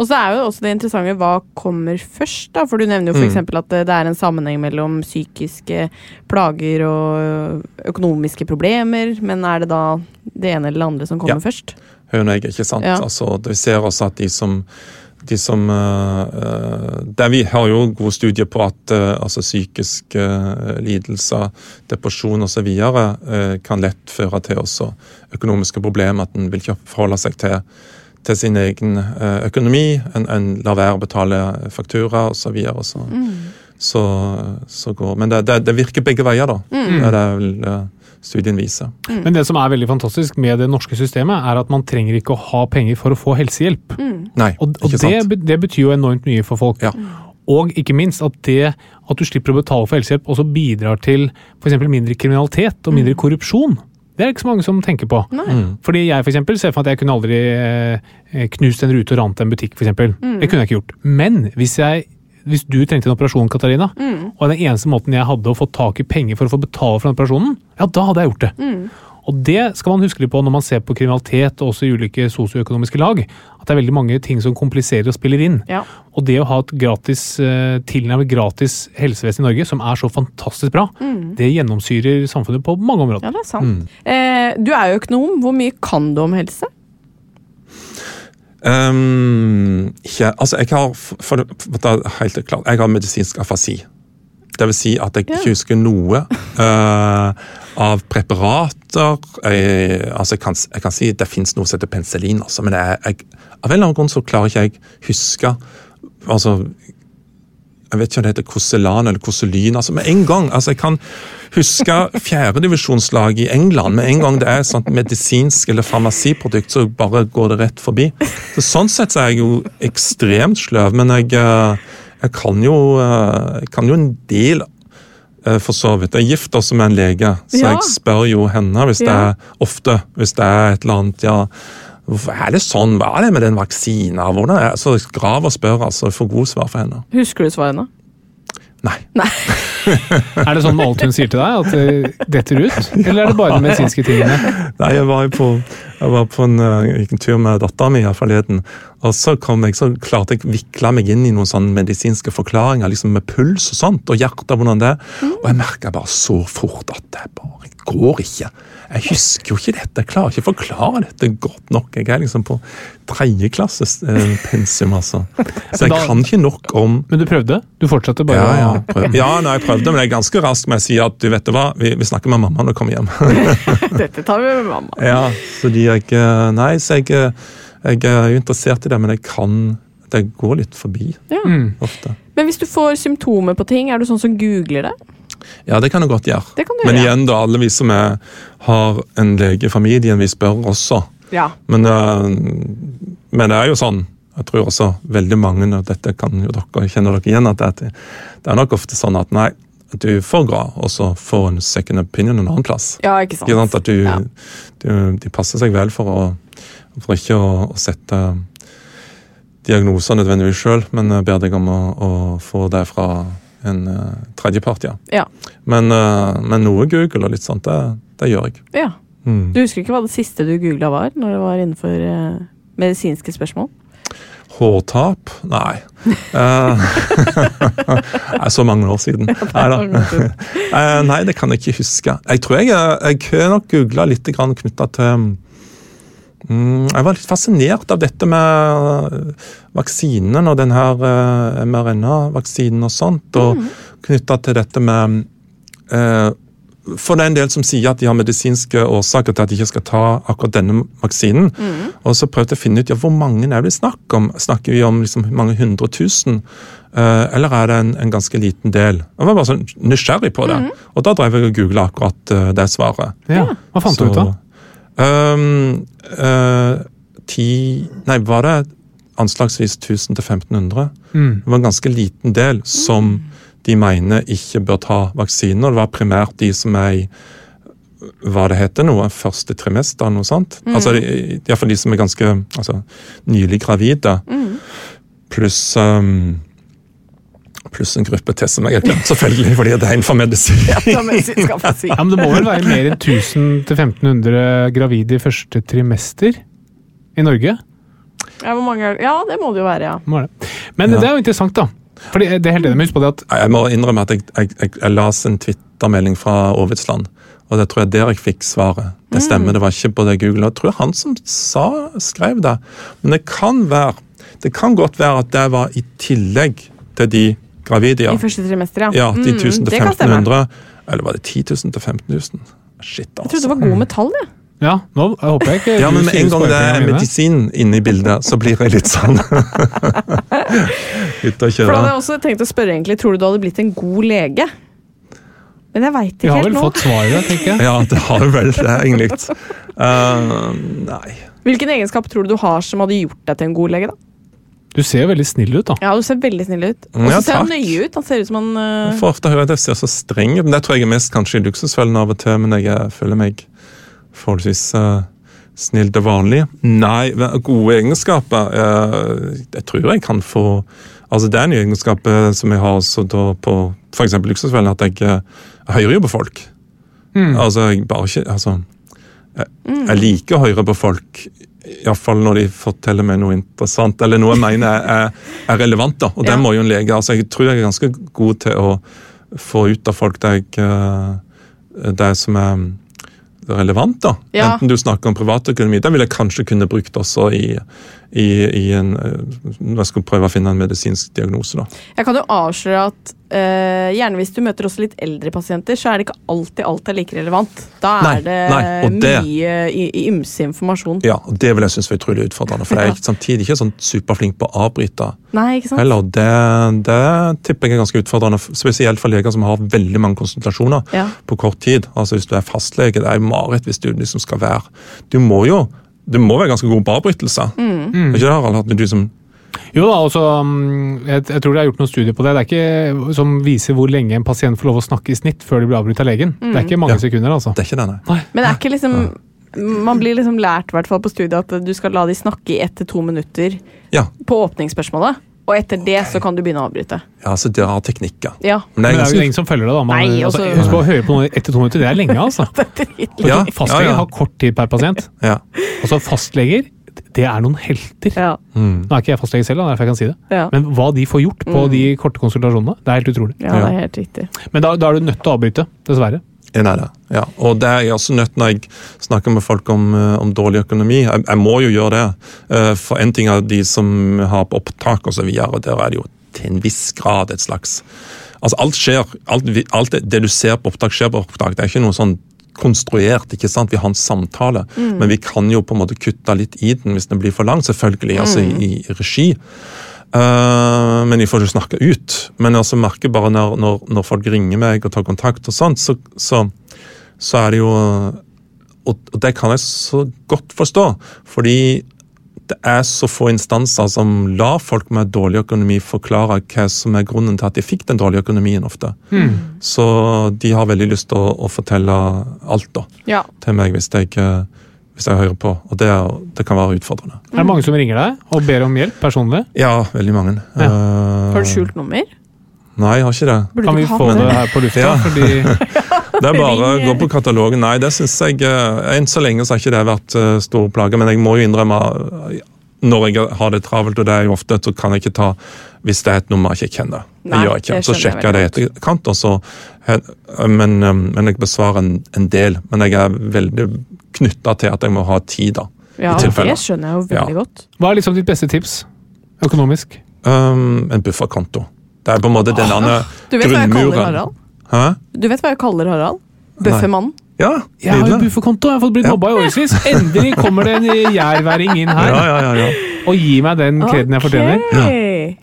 Speaker 4: Og så er jo også det interessante hva kommer først, da. For du nevner jo f.eks. at eh, det det er en sammenheng mellom psykiske plager og økonomiske problemer. Men er det da det ene eller det andre som kommer
Speaker 5: Ja.
Speaker 4: først?
Speaker 5: Høne og egg, ikke sant?
Speaker 4: Ja.
Speaker 5: Altså, det- vi ser også at de som de som, eh, eh, der Vi har jo gode studier på at eh, altså psykiske eh, lidelser, depresjon osv. Uh, kan lett føre til også økonomiske problemer. At en vil ikke forholde seg til, til sin egen eh, økonomi. En, en lar være å betale faktura osv. Så, videre, og så, så, så går Men det, det, det virker begge veier, da. Det er det vel eh, studien viser.
Speaker 3: Men det som er veldig fantastisk med det norske systemet, er at man trenger ikke å ha penger for å få helsehjelp.
Speaker 5: Nei,
Speaker 3: Og, og
Speaker 5: ikke sant?
Speaker 3: det, be- det betyr jo enormt mye for folk.
Speaker 5: Ja.
Speaker 3: Og ikke minst at det at du slipper å betale for helsehjelp også bidrar til f.eks. mindre kriminalitet og mindre korrupsjon. Det er det ikke så mange som tenker på.
Speaker 5: Mm.
Speaker 3: Fordi jeg for eksempel, ser for meg at jeg kunne aldri eh, knust en rute og rant en butikk. For eksempel. Det kunne jeg ikke gjort. Men hvis, jeg, hvis du trengte en operasjon, Katarina, og den eneste måten jeg hadde å få tak i penger for å få betale for den operasjonen, ja, da hadde jeg gjort det. Og det skal man huske litt på når man ser på kriminalitet og også i ulike sosioøkonomiske lag. At det er veldig mange ting som kompliserer og spiller inn.
Speaker 4: Ja.
Speaker 3: Og det å ha et gratis, eh, tilnærmet gratis helsevesen i Norge, som er så fantastisk bra, det gjennomsyrer samfunnet på mange
Speaker 4: Ja,
Speaker 3: områder.
Speaker 4: det er sant.
Speaker 5: Mm.
Speaker 4: Eh, du er jo økonom. Hvor mye kan du om helse?
Speaker 5: Ehm, ikke, altså jeg har, for, for, for, å ta helt klart, jeg har medisinsk afasi. Det vil si at jeg ikke husker noe eh, av preparater. Jeg, altså jeg, kan, s- jeg kan si det finnes noe som heter penicillin, altså, men jeg, jeg, av en eller annen grunn så klarer ikke jeg huske altså, Jeg vet ikke om det heter Koselan eller Koselyn. altså Med en gang altså Jeg kan huske fjerdedivisjonslaget i England. Med en gang det er et sånt medisinsk eller farmasiprodukt, så bare går det rett forbi. Så Sånn sett så er jeg jo ekstremt sløv, men jeg, eh, jeg kan jo, eh, jeg kan jo en del eh, eh, for så vidt. Jeg er gift også med en lege, så
Speaker 4: Ja.
Speaker 5: jeg spør jo henne hvis det
Speaker 4: Ja.
Speaker 5: er ofte. Hvis det er et eller annet, ja Hvorfor er det sånn? Hva er det med den vaksina? Hvordan er Så jeg graver og spør, altså. Jeg får gode svar fra henne.
Speaker 4: Husker du
Speaker 5: [laughs]
Speaker 4: svarene?
Speaker 5: Nei.
Speaker 3: Er det sånn med alt hun sier til deg, at det detter ut? Eller er det bare de medisinske tingene?
Speaker 5: Nei, jeg var jo på, jeg var på en, eh, gikk en tur med dattera mi forleden. Og så, kom jeg, så klarte jeg å vikle meg inn i noen sånne medisinske forklaringer, liksom med puls og sånt, og hjertet og hvordan det er. Og jeg merka bare så fort at det bare går ikke. Jeg husker jo ikke dette, jeg klarer ikke å forklare dette godt nok. Jeg er liksom på tredjeklasses eh, pensum, altså. Så jeg
Speaker 3: Da-
Speaker 5: kan ikke nok om
Speaker 3: Men du prøvde? Du fortsatte bare?
Speaker 5: ja, ja,
Speaker 3: å-
Speaker 5: jeg prøv- ja, nei, jeg prøvde, men jeg er ganske rask med å si at du vet du hva, vi, vi snakker med mamma når jeg kommer hjem.
Speaker 4: Dette tar vi med mamma.
Speaker 5: Ja, fordi jeg eh, Nei, så jeg, eh, jeg er jo interessert i det, men jeg kan Det går litt forbi
Speaker 4: Ja.
Speaker 5: ofte.
Speaker 4: Men hvis du får symptomer på ting, er du sånn som googler det?
Speaker 5: Ja, det kan jeg godt gjøre.
Speaker 4: Det kan du
Speaker 5: men
Speaker 4: gjøre, ja.
Speaker 5: igjen, da, alle vi som er, har en lege i familien, vi spør også.
Speaker 4: Ja.
Speaker 5: Men, eh, men det er jo sånn. Jeg tror også veldig mange, og dette kan jo dere kjenne dere igjen, at det, det er nok ofte sånn at nei, du får gå, og så får en second opinion en annen plass.
Speaker 4: Ja, ikke sant.
Speaker 5: Ikke sant? At du,
Speaker 4: Sånn. Ja.
Speaker 5: du, de passer seg vel for, å, for ikke å, å sette diagnoser nødvendigvis sjøl, men eh, ber deg om å, å få det fra en eh, tredjepart, ja.
Speaker 4: Ja.
Speaker 5: Men, eh, men noe Google og litt sånt, det, det gjør jeg.
Speaker 4: ja.
Speaker 5: Mm.
Speaker 4: Du husker ikke hva det siste du googla var, når det var innenfor eh, medisinske spørsmål?
Speaker 5: Hårtap? Nei. Eh, [laughs] det er så mange år siden. Neida. Eh, nei, det kan jeg ikke huske. Jeg tror jeg, eh, jeg har nok googla litt knytta til mm, Jeg var litt fascinert av dette med eh, vaksinen og den her eh, mRNA-vaksinen og sånt, og knytta til dette med eh, for det er en del som sier at de har medisinske årsaker til at de ikke skal ta akkurat denne vaksinen. Og så prøvde jeg å finne ut ja, hvor mange er det snakk om. Snakker vi om liksom mange hundre tusen? eh, eller er det en, en ganske liten del? Jeg var bare sånn nysgjerrig på det. Og da drev jeg og googla akkurat eh, det svaret.
Speaker 3: Ja. Hva fant du ut av?
Speaker 5: Ehm, eh, ti Nei, var det anslagsvis 1000 til 1500?
Speaker 3: Mm.
Speaker 5: Det var en ganske liten del som de mener ikke bør ta vaksiner. og Det var primært de som er i hva det heter nå, første trimester, noe sånt. Altså, de- Iallfall de som er ganske altså, nylig gravide. Pluss um, Pluss en gruppe til som jeg har glemt, selvfølgelig, fordi det er innenfor medisin.
Speaker 3: Ja, men Det må vel være mer enn 1000-1500 gravide i første trimester i Norge?
Speaker 4: [laughs] Ja, hvor mange er det? ja, det må det jo være, ja.
Speaker 3: Må være det. Men det er jo interessant, da. Fordi det er helt enig med husk på det at
Speaker 5: Nei, Jeg må innrømme at jeg, jeg, jeg, jeg las en twittermelding fra Aavitsland. Og det tror jeg der jeg fikk svaret. Det
Speaker 4: Mm.
Speaker 5: stemmer, det var ikke på det Google. Og Jeg tror han som sa, skrev det. Men det kan være, det kan godt være at det var i tillegg til de gravide. Ja,
Speaker 4: I første trimester, ja.
Speaker 5: ja de
Speaker 4: Mm, det
Speaker 5: 1000 til
Speaker 4: kan stemme.
Speaker 5: 1500. Eller var det 10 000 til 15 000?
Speaker 4: Jeg
Speaker 5: Shit,
Speaker 4: trodde
Speaker 5: altså.
Speaker 4: det var god metall, jeg.
Speaker 3: Ja, nå håper jeg ikke
Speaker 5: Ja,
Speaker 3: du
Speaker 5: men med
Speaker 3: sier
Speaker 5: en gang det er
Speaker 3: sparepengene mine.
Speaker 5: medisin inne i bildet, så blir jeg litt
Speaker 4: [laughs]
Speaker 5: sånn Ute
Speaker 4: For
Speaker 5: å
Speaker 4: da hadde
Speaker 5: kjøre.
Speaker 4: jeg også tenkt å spørre, egentlig, tror du du hadde blitt en god lege? Men jeg
Speaker 3: Vi
Speaker 4: veit ikke
Speaker 3: har
Speaker 4: helt
Speaker 3: vel
Speaker 4: nå.
Speaker 3: fått svaret, tenker jeg.
Speaker 5: Ja, det har jo vel det, egentlig. Eh, nei.
Speaker 4: Hvilken egenskap tror du du har som hadde gjort deg til en god lege, da?
Speaker 3: Du ser jo veldig snill ut, da.
Speaker 4: Ja, du ser veldig snill ut.
Speaker 5: Mm,
Speaker 4: Og
Speaker 5: ja,
Speaker 4: så ser han
Speaker 5: takk.
Speaker 4: nøye ut. Han ser ut som han
Speaker 5: Jeg
Speaker 4: øh,
Speaker 5: får ofte høre at jeg ser så streng ut, men det tror jeg er mest kanskje i luksusfellen av og til, men jeg eh, føler meg forholdsvis eh, snill til vanlig. Nei, ve- gode egenskaper eh, Jeg tror jeg kan få Altså, det er en egenskap eh, som jeg har også da på f.eks. luksusfellen, at jeg eh, hører jo på folk. Altså, jeg bare ikke Altså, jeg, jeg liker å høre på folk. Iallfall når de forteller meg noe interessant, eller noe jeg mener er, er relevant. da, Og det
Speaker 4: Ja.
Speaker 5: må jo en lege. altså Jeg tror jeg er ganske god til å få ut av folk det, jeg, eh, det som er relevant. da.
Speaker 4: Ja.
Speaker 5: Enten du snakker om privatøkonomi, det vil jeg kanskje kunne brukt også i, i, i en, eh, når jeg skal prøve å finne en medisinsk diagnose. da.
Speaker 4: Jeg kan jo avsløre at øh, gjerne hvis du møter også litt eldre pasienter, så er det ikke alltid alt er like relevant. Da er
Speaker 5: Nei,
Speaker 4: det
Speaker 5: nei, og det-
Speaker 4: mye i- i ymse informasjon.
Speaker 5: Ja, og Det vil jeg synes var utrolig utfordrende, for jeg er ikke- samtidig ikke sånn superflink på å avbryte.
Speaker 4: Nei, ikke sant?
Speaker 5: Heller, det, det tipper jeg er ganske utfordrende, f- spesielt for leger som har veldig mange konsultasjoner
Speaker 4: Ja.
Speaker 5: på kort tid. Altså Hvis du er fastlege, det er jo mareritt hvis du liksom Mm. skal være Du liksom- må jo du må være ganske god på avbrytelse. Er Ikke det, Harald, at du som
Speaker 3: Jo da, altså, mm, jeg, jeg tror det er gjort noen studier på det. Det er ikke Som viser hvor lenge en pasient får lov å snakke i snitt før de blir avbrutt av legen.
Speaker 4: Mm.
Speaker 3: Det er ikke mange
Speaker 5: Ja.
Speaker 3: sekunder, altså.
Speaker 5: Det er ikke det, nei.
Speaker 4: Men det er ikke liksom man blir liksom lært i hvert fall på studiet at du skal la de snakke i ett til to minutter
Speaker 5: Ja,
Speaker 4: på åpningsspørsmålet. Og etter det så kan du begynne å avbryte.
Speaker 5: ja så de har teknikker.
Speaker 4: Ja. [laughs]
Speaker 5: Men det
Speaker 3: Men
Speaker 5: er
Speaker 3: det er jo
Speaker 5: ganske
Speaker 3: ingen som følger det, da. Man,
Speaker 4: Nei,
Speaker 3: altså,
Speaker 4: også-
Speaker 3: husk å høre på noen i ett til to minutter, det er lenge, altså.
Speaker 5: Ja, ja,
Speaker 3: Fastleger
Speaker 5: ja.
Speaker 3: har kort tid per pasient.
Speaker 5: ja.
Speaker 3: Altså, fastleger, det er noen helter.
Speaker 4: Ja.
Speaker 5: Mm.
Speaker 3: Nå er ikke jeg fastlege selv, da, derfor jeg kan si det.
Speaker 4: Ja. Mm.
Speaker 3: Men hva de får gjort på de korte konsultasjonene, det er helt utrolig.
Speaker 4: ja, det er helt riktig.
Speaker 3: Men da, da er du nødt til å avbryte, dessverre.
Speaker 5: Ja, Nei, da. ja. Og det er jeg også nødt når jeg snakker med folk om, eh, om dårlig økonomi. Jeg, jeg må jo gjøre det. Eh, For en ting er de som har på opptak og så videre, og der er det jo til en viss grad et slags Altså alt skjer, alt, vi- alt det, det du ser på opptak, skjer på opptak. Det er ikke noe sånn konstruert, ikke sant? Vi har en samtale, men vi kan jo på en måte kutte litt i den hvis den blir for lang, selvfølgelig, altså i, i regi. Eh, men jeg får ikke snakke ut. Men jeg også merker bare når, når, når folk ringer meg og tar kontakt, og sånt, så, så, så er det jo og, og det kan jeg så godt forstå. Fordi det er så få instanser som lar folk med dårlig økonomi forklare hva som er grunnen til at de fikk den dårlige økonomien ofte.
Speaker 3: Hmm.
Speaker 5: Så de har veldig lyst til å, å fortelle alt da,
Speaker 4: Ja.
Speaker 5: til meg hvis jeg, eh, hvis jeg hører på. Og det, er, det kan være utfordrende.
Speaker 3: Er det mange som ringer deg og ber om hjelp personlig?
Speaker 5: Ja, veldig mange. Eh,
Speaker 4: Har du skjult nummer?
Speaker 5: Nei, jeg har ikke det.
Speaker 4: Burde
Speaker 3: Kan
Speaker 4: du
Speaker 3: vi
Speaker 4: ikke ha
Speaker 3: få det her på lufta?
Speaker 5: Ja.
Speaker 3: Fordi
Speaker 5: Det er bare å
Speaker 4: Ring.
Speaker 5: gå på katalogen. Nei, det synes jeg eh, Enn så lenge så har ikke det vært eh, stor plage, men jeg må jo innrømme eh, når jeg har det travelt, og det er jo ofte, så kan jeg ikke ta Hvis det er et nummer jeg ikke kjenner.
Speaker 4: Nei,
Speaker 5: jeg gjør
Speaker 4: det
Speaker 5: ikke. Så
Speaker 4: skjønner jeg
Speaker 5: sjekker jeg det i etterkant, og så eh, men, eh, men jeg besvarer en, en del. Men jeg er veldig knytta til at jeg må ha tid, da.
Speaker 4: Ja,
Speaker 5: i tilfelle.
Speaker 4: det skjønner jeg jo veldig
Speaker 5: Ja.
Speaker 4: godt.
Speaker 3: hva er liksom ditt beste tips økonomisk?
Speaker 5: Um, en bufferkonto. Det er på en måte den andre
Speaker 4: Du vet hva jeg kaller
Speaker 5: grunnmuren.
Speaker 4: Harald?
Speaker 5: Hæ?
Speaker 4: Du vet hva jeg kaller Harald? Bøffemannen.
Speaker 5: Ja,
Speaker 3: Jeg har jo
Speaker 5: nydelig.
Speaker 3: bufferkonto, jeg har fått blitt
Speaker 5: Ja.
Speaker 3: mobba i
Speaker 4: [laughs]
Speaker 3: årevis. Endelig kommer det en jærværing inn her
Speaker 5: Ja, ja, ja, ja.
Speaker 3: og gir meg den kreden jeg fortjener.
Speaker 4: Ok.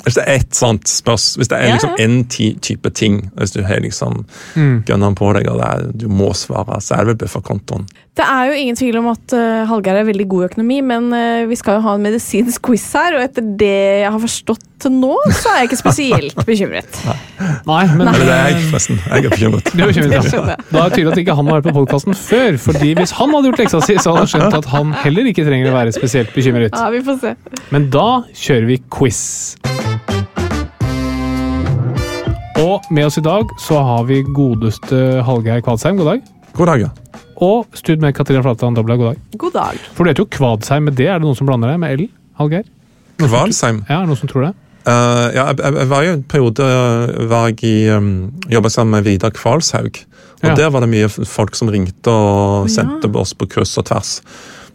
Speaker 5: Hvis det er ett sånt spørs, hvis det er
Speaker 4: Ja,
Speaker 5: liksom
Speaker 4: ja.
Speaker 5: en ti type ting hvis du har liksom
Speaker 3: Mm.
Speaker 5: gønneren på deg og det er, du må svare, så er det vel
Speaker 4: [laughs]
Speaker 5: bufferkontoen.
Speaker 4: Det er jo ingen tvil om at eh, Hallgeir er veldig god i økonomi, men eh, vi skal jo ha en medisinsk quiz her, og etter det jeg har forstått til nå, så er jeg ikke
Speaker 3: [laughs]
Speaker 4: spesielt bekymret.
Speaker 3: Nei, men eh,
Speaker 5: Eller det er jeg, forresten. Jeg er bekymret.
Speaker 3: Det er jo kjempebra.
Speaker 4: [laughs] Det skjønner jeg.
Speaker 3: Da er det tydelig at ikke han har vært på podkasten før. fordi hvis han hadde gjort leksa si, så hadde han skjønt at han heller ikke trenger å være spesielt bekymret.
Speaker 4: Ja, vi får se.
Speaker 3: Men da kjører vi quiz. Og med oss i dag så har vi godeste Hallgeir Kvadsheim, god dag.
Speaker 5: God dag, ja.
Speaker 3: Og stud med Katrine Flatland Dobla, god dag.
Speaker 4: God dag.
Speaker 3: For du heter jo Kvadsheim med det, er det noen som blander deg med L? Hallgeir?
Speaker 5: Kvalsheim.
Speaker 3: Ja, er det noen som tror det?
Speaker 5: Eh, ja, jeg, jeg, jeg var jo en periode eh, var jeg i, um, jobbet sammen med Vidar Kvalshaug. Og
Speaker 3: Ja.
Speaker 5: der var det mye f- folk som ringte og sendte oss på kryss og tvers.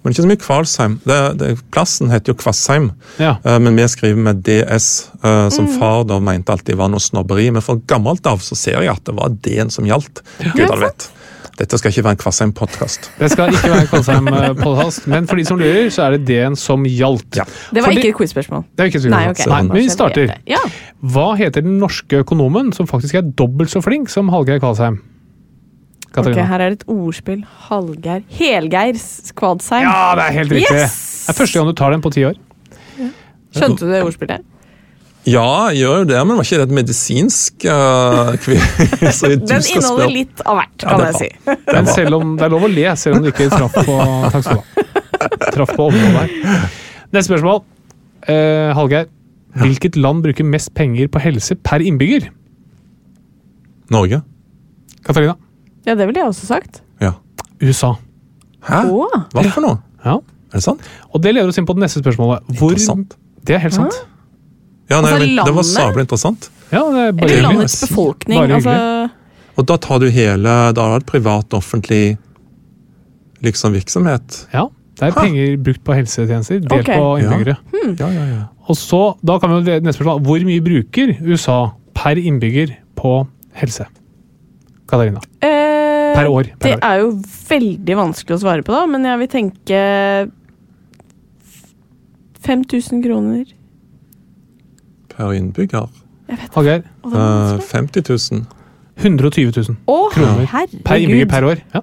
Speaker 5: Men ikke så mye Kvalsheim. Det, det, plassen heter jo Kvassheim.
Speaker 3: Ja.
Speaker 5: Eh, Men vi skriver med DS, eh, som
Speaker 4: Mm.
Speaker 5: far da mente alltid var noe snobberi. Men fra gammelt av så ser jeg at det var D-en som gjaldt. Gud, han vet. Dette skal ikke være en Kvassheim-podkast.
Speaker 3: Det skal ikke være Kvadsheim-podkast, men for de som lurer, så er det D-en som gjaldt.
Speaker 5: Ja.
Speaker 4: Det var
Speaker 3: Fordi-
Speaker 4: ikke et quiz-spørsmål.
Speaker 3: Det er ikke så
Speaker 4: Nei,
Speaker 3: godt.
Speaker 4: ok.
Speaker 3: Nei, men vi starter.
Speaker 4: Ja.
Speaker 3: Hva heter den norske økonomen som faktisk er dobbelt så flink som Hallgeir Kvalsheim?
Speaker 4: Ok,
Speaker 3: Katarina.
Speaker 4: her er det et ordspill. Hallgeir Helgeir Skvadsheim.
Speaker 3: Ja, det er helt riktig!
Speaker 4: Yes!
Speaker 3: Det er første gang du tar den på ti år.
Speaker 4: Skjønte du det ordspillet?
Speaker 5: Ja, jeg gjør jo det, men var ikke det et medisinsk
Speaker 4: [laughs]
Speaker 5: uh, quiz?
Speaker 4: Den inneholder litt av hvert, kan
Speaker 5: det er
Speaker 4: jeg si. [laughs]
Speaker 3: Men selv om det er lov å le, selv om du ikke traff på Takk skal du ha. Traff på området her. Neste spørsmål. Eh, Hallgeir. Hvilket land bruker mest penger på helse per innbygger?
Speaker 5: Norge?
Speaker 3: Katarina.
Speaker 4: Ja, det ville jeg også sagt.
Speaker 5: Ja.
Speaker 3: USA.
Speaker 5: Hæ?
Speaker 4: Å.
Speaker 5: Hva for noe?
Speaker 3: Ja.
Speaker 5: Er det sant?
Speaker 3: Og det leder oss inn på det neste spørsmålet. Hvor,
Speaker 5: Interessant.
Speaker 3: det er helt sant.
Speaker 4: Ah.
Speaker 5: Ja, nei,
Speaker 4: Altså,
Speaker 5: men, det var
Speaker 4: landet?
Speaker 5: sabla interessant.
Speaker 3: Ja, det er bare
Speaker 4: Eller
Speaker 3: hyggelig.
Speaker 4: landets befolkning.
Speaker 3: Bare
Speaker 4: Altså,
Speaker 5: Og da tar du hele Da er det privat, offentlig liksom virksomhet.
Speaker 3: Ja, det er
Speaker 5: Ha.
Speaker 3: penger brukt på helsetjenester, delt
Speaker 4: Ok.
Speaker 3: på innbyggere.
Speaker 4: Mm.
Speaker 5: Ja, ja, ja.
Speaker 3: Og så, da kan vi jo lede neste spørsmål. Hvor mye bruker USA per innbygger på helse? Katarina.
Speaker 4: eh,
Speaker 3: Per år.
Speaker 4: Det
Speaker 3: Per år.
Speaker 4: er jo veldig vanskelig å svare på, da, men jeg vil tenke 5000 kroner.
Speaker 5: Per innbygger.
Speaker 3: Hallgeir.
Speaker 4: Å, det var
Speaker 5: Eh,
Speaker 4: vanskelig.
Speaker 5: 50 000.
Speaker 3: 120 000
Speaker 4: Å,
Speaker 3: kroner per innbygger
Speaker 4: herregud!
Speaker 3: per år. Ja.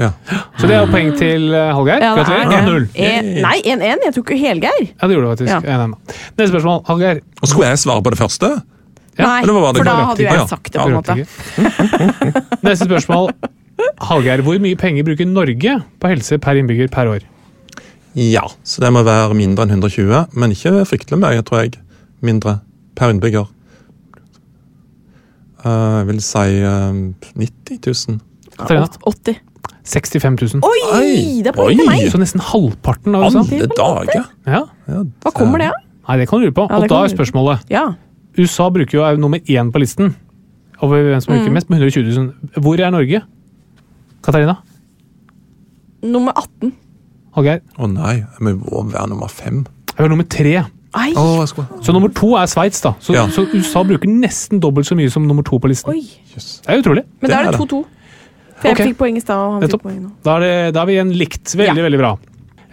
Speaker 5: Ja.
Speaker 3: Så det er jo poeng til eh, Hallgeir.
Speaker 4: Ja, det er
Speaker 3: Gratulerer.
Speaker 4: det.
Speaker 3: 1-0.
Speaker 4: En- eh, Nei, 1-1. Jeg tok jo Helgeir.
Speaker 3: Ja, det gjorde du faktisk.
Speaker 4: Ja.
Speaker 3: 1-1. Neste spørsmål, Hallgeir.
Speaker 5: Og skulle jeg svare på det første?
Speaker 4: Nei,
Speaker 5: eller hva var det?
Speaker 4: for da
Speaker 5: Gratulerer.
Speaker 4: hadde jo
Speaker 5: Ja, ja.
Speaker 4: jeg sagt det, på en måte.
Speaker 3: Byråkratiker. Neste spørsmål. Hallgeir, hvor mye penger bruker Norge på helse per innbygger per år?
Speaker 5: Ja, så det må være mindre enn 120, men ikke fryktelig mye, tror jeg. Mindre per innbygger. Eh, Jeg vil si eh, 90 000.
Speaker 3: Trine?
Speaker 4: Åt- 80.
Speaker 3: 65 000.
Speaker 4: Oi!
Speaker 5: Oi!
Speaker 4: Det er poeng til
Speaker 5: Oi!
Speaker 4: meg.
Speaker 3: Så nesten halvparten av USA.
Speaker 5: Alle dager!
Speaker 3: Ja.
Speaker 5: Ja,
Speaker 4: Hva kommer det av?
Speaker 3: Nei, det kan du lure på.
Speaker 4: Ja,
Speaker 3: Og
Speaker 4: det
Speaker 3: da
Speaker 4: kan
Speaker 3: er
Speaker 4: du lure på.
Speaker 3: spørsmålet
Speaker 4: Ja.
Speaker 3: USA bruker jo er nummer én på listen over hvem som
Speaker 4: Mm.
Speaker 3: bruker mest, med 120 000. Hvor er Norge? Katarina?
Speaker 4: Nummer 18.
Speaker 3: Hallgeir?
Speaker 5: Å nei, jeg må være nummer fem.
Speaker 3: Jeg var nummer tre.
Speaker 4: Ai!
Speaker 5: Å, jeg skulle...
Speaker 3: Så nummer to er Sveits, da. Så,
Speaker 5: Ja.
Speaker 3: så USA bruker nesten dobbelt så mye som nummer to på listen.
Speaker 4: Oi.
Speaker 5: Jøss.
Speaker 3: Det er utrolig.
Speaker 4: Men
Speaker 5: Det
Speaker 4: da er
Speaker 5: er
Speaker 4: det
Speaker 5: det.
Speaker 4: 2-2. For jeg
Speaker 3: Ok.
Speaker 4: fikk poeng i stad, og han
Speaker 3: Nettopp.
Speaker 4: fikk poeng nå.
Speaker 3: Da er, det, da er vi igjen likt. Veldig,
Speaker 4: Ja.
Speaker 3: veldig bra.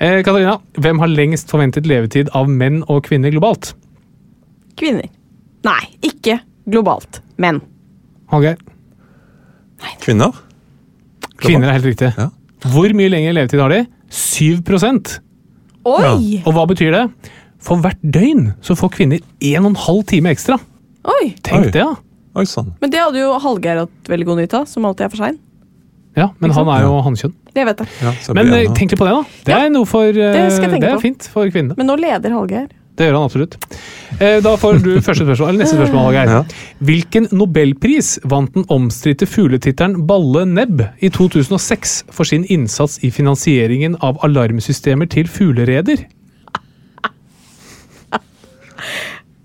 Speaker 3: Eh, Katarina, hvem har lengst forventet levetid av menn og kvinner globalt?
Speaker 4: Kvinner. Nei, ikke globalt. Men.
Speaker 3: Hallgeir?
Speaker 5: Kvinner?
Speaker 3: Kvinner er helt riktig.
Speaker 5: Ja.
Speaker 3: Hvor mye lengre levetid har de? 7
Speaker 4: Oi!
Speaker 3: Og hva betyr det? For hvert døgn så får kvinner 1,5 time ekstra.
Speaker 4: Oi!
Speaker 3: Tenk
Speaker 5: Oi.
Speaker 3: det, da!
Speaker 5: Oi sånn. sann.
Speaker 4: Men det hadde jo Hallgeir hatt veldig god nytte av, som alltid er for sein.
Speaker 3: Ja, Men han er jo
Speaker 5: Ja.
Speaker 3: hannkjønn.
Speaker 4: Det vet jeg.
Speaker 5: Ja, så jeg
Speaker 3: Men
Speaker 5: blir
Speaker 3: eh,
Speaker 5: gjerne-
Speaker 3: tenk litt på det, da. Det er noe for eh,
Speaker 4: det skal jeg tenke
Speaker 3: Det er
Speaker 4: på.
Speaker 3: fint for kvinnene.
Speaker 4: Men nå leder Hallgeir.
Speaker 3: Det gjør han absolutt. Eh, Da får du første spørsmål, eller neste spørsmål, Hallgeir.
Speaker 5: Ja.
Speaker 3: Hvilken nobelpris vant den omstridte fugletitteren Balle Nebb i 2006 for sin innsats i finansieringen av alarmsystemer til fuglereder?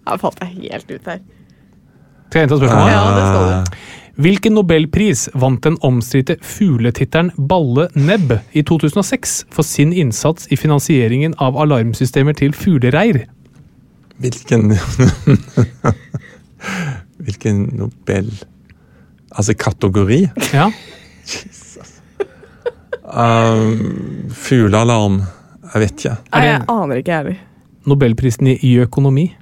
Speaker 4: Ja, falt jeg helt ut her.
Speaker 5: Eh,
Speaker 3: Skal jeg gjenta spørsmålet?
Speaker 4: Ja, det skal du.
Speaker 3: Hvilken nobelpris vant den omstridte fugletitteren Balle Nebb i 2006 for sin innsats i finansieringen av alarmsystemer til fuglereir?
Speaker 5: Hvilken [laughs] Hvilken Nobel Altså kategori?
Speaker 3: Ja,
Speaker 5: Um, Fuglealarm? Jeg vet ikke.
Speaker 4: Nei, jeg aner ikke, jeg heller.
Speaker 3: Nobelprisen i i økonomi.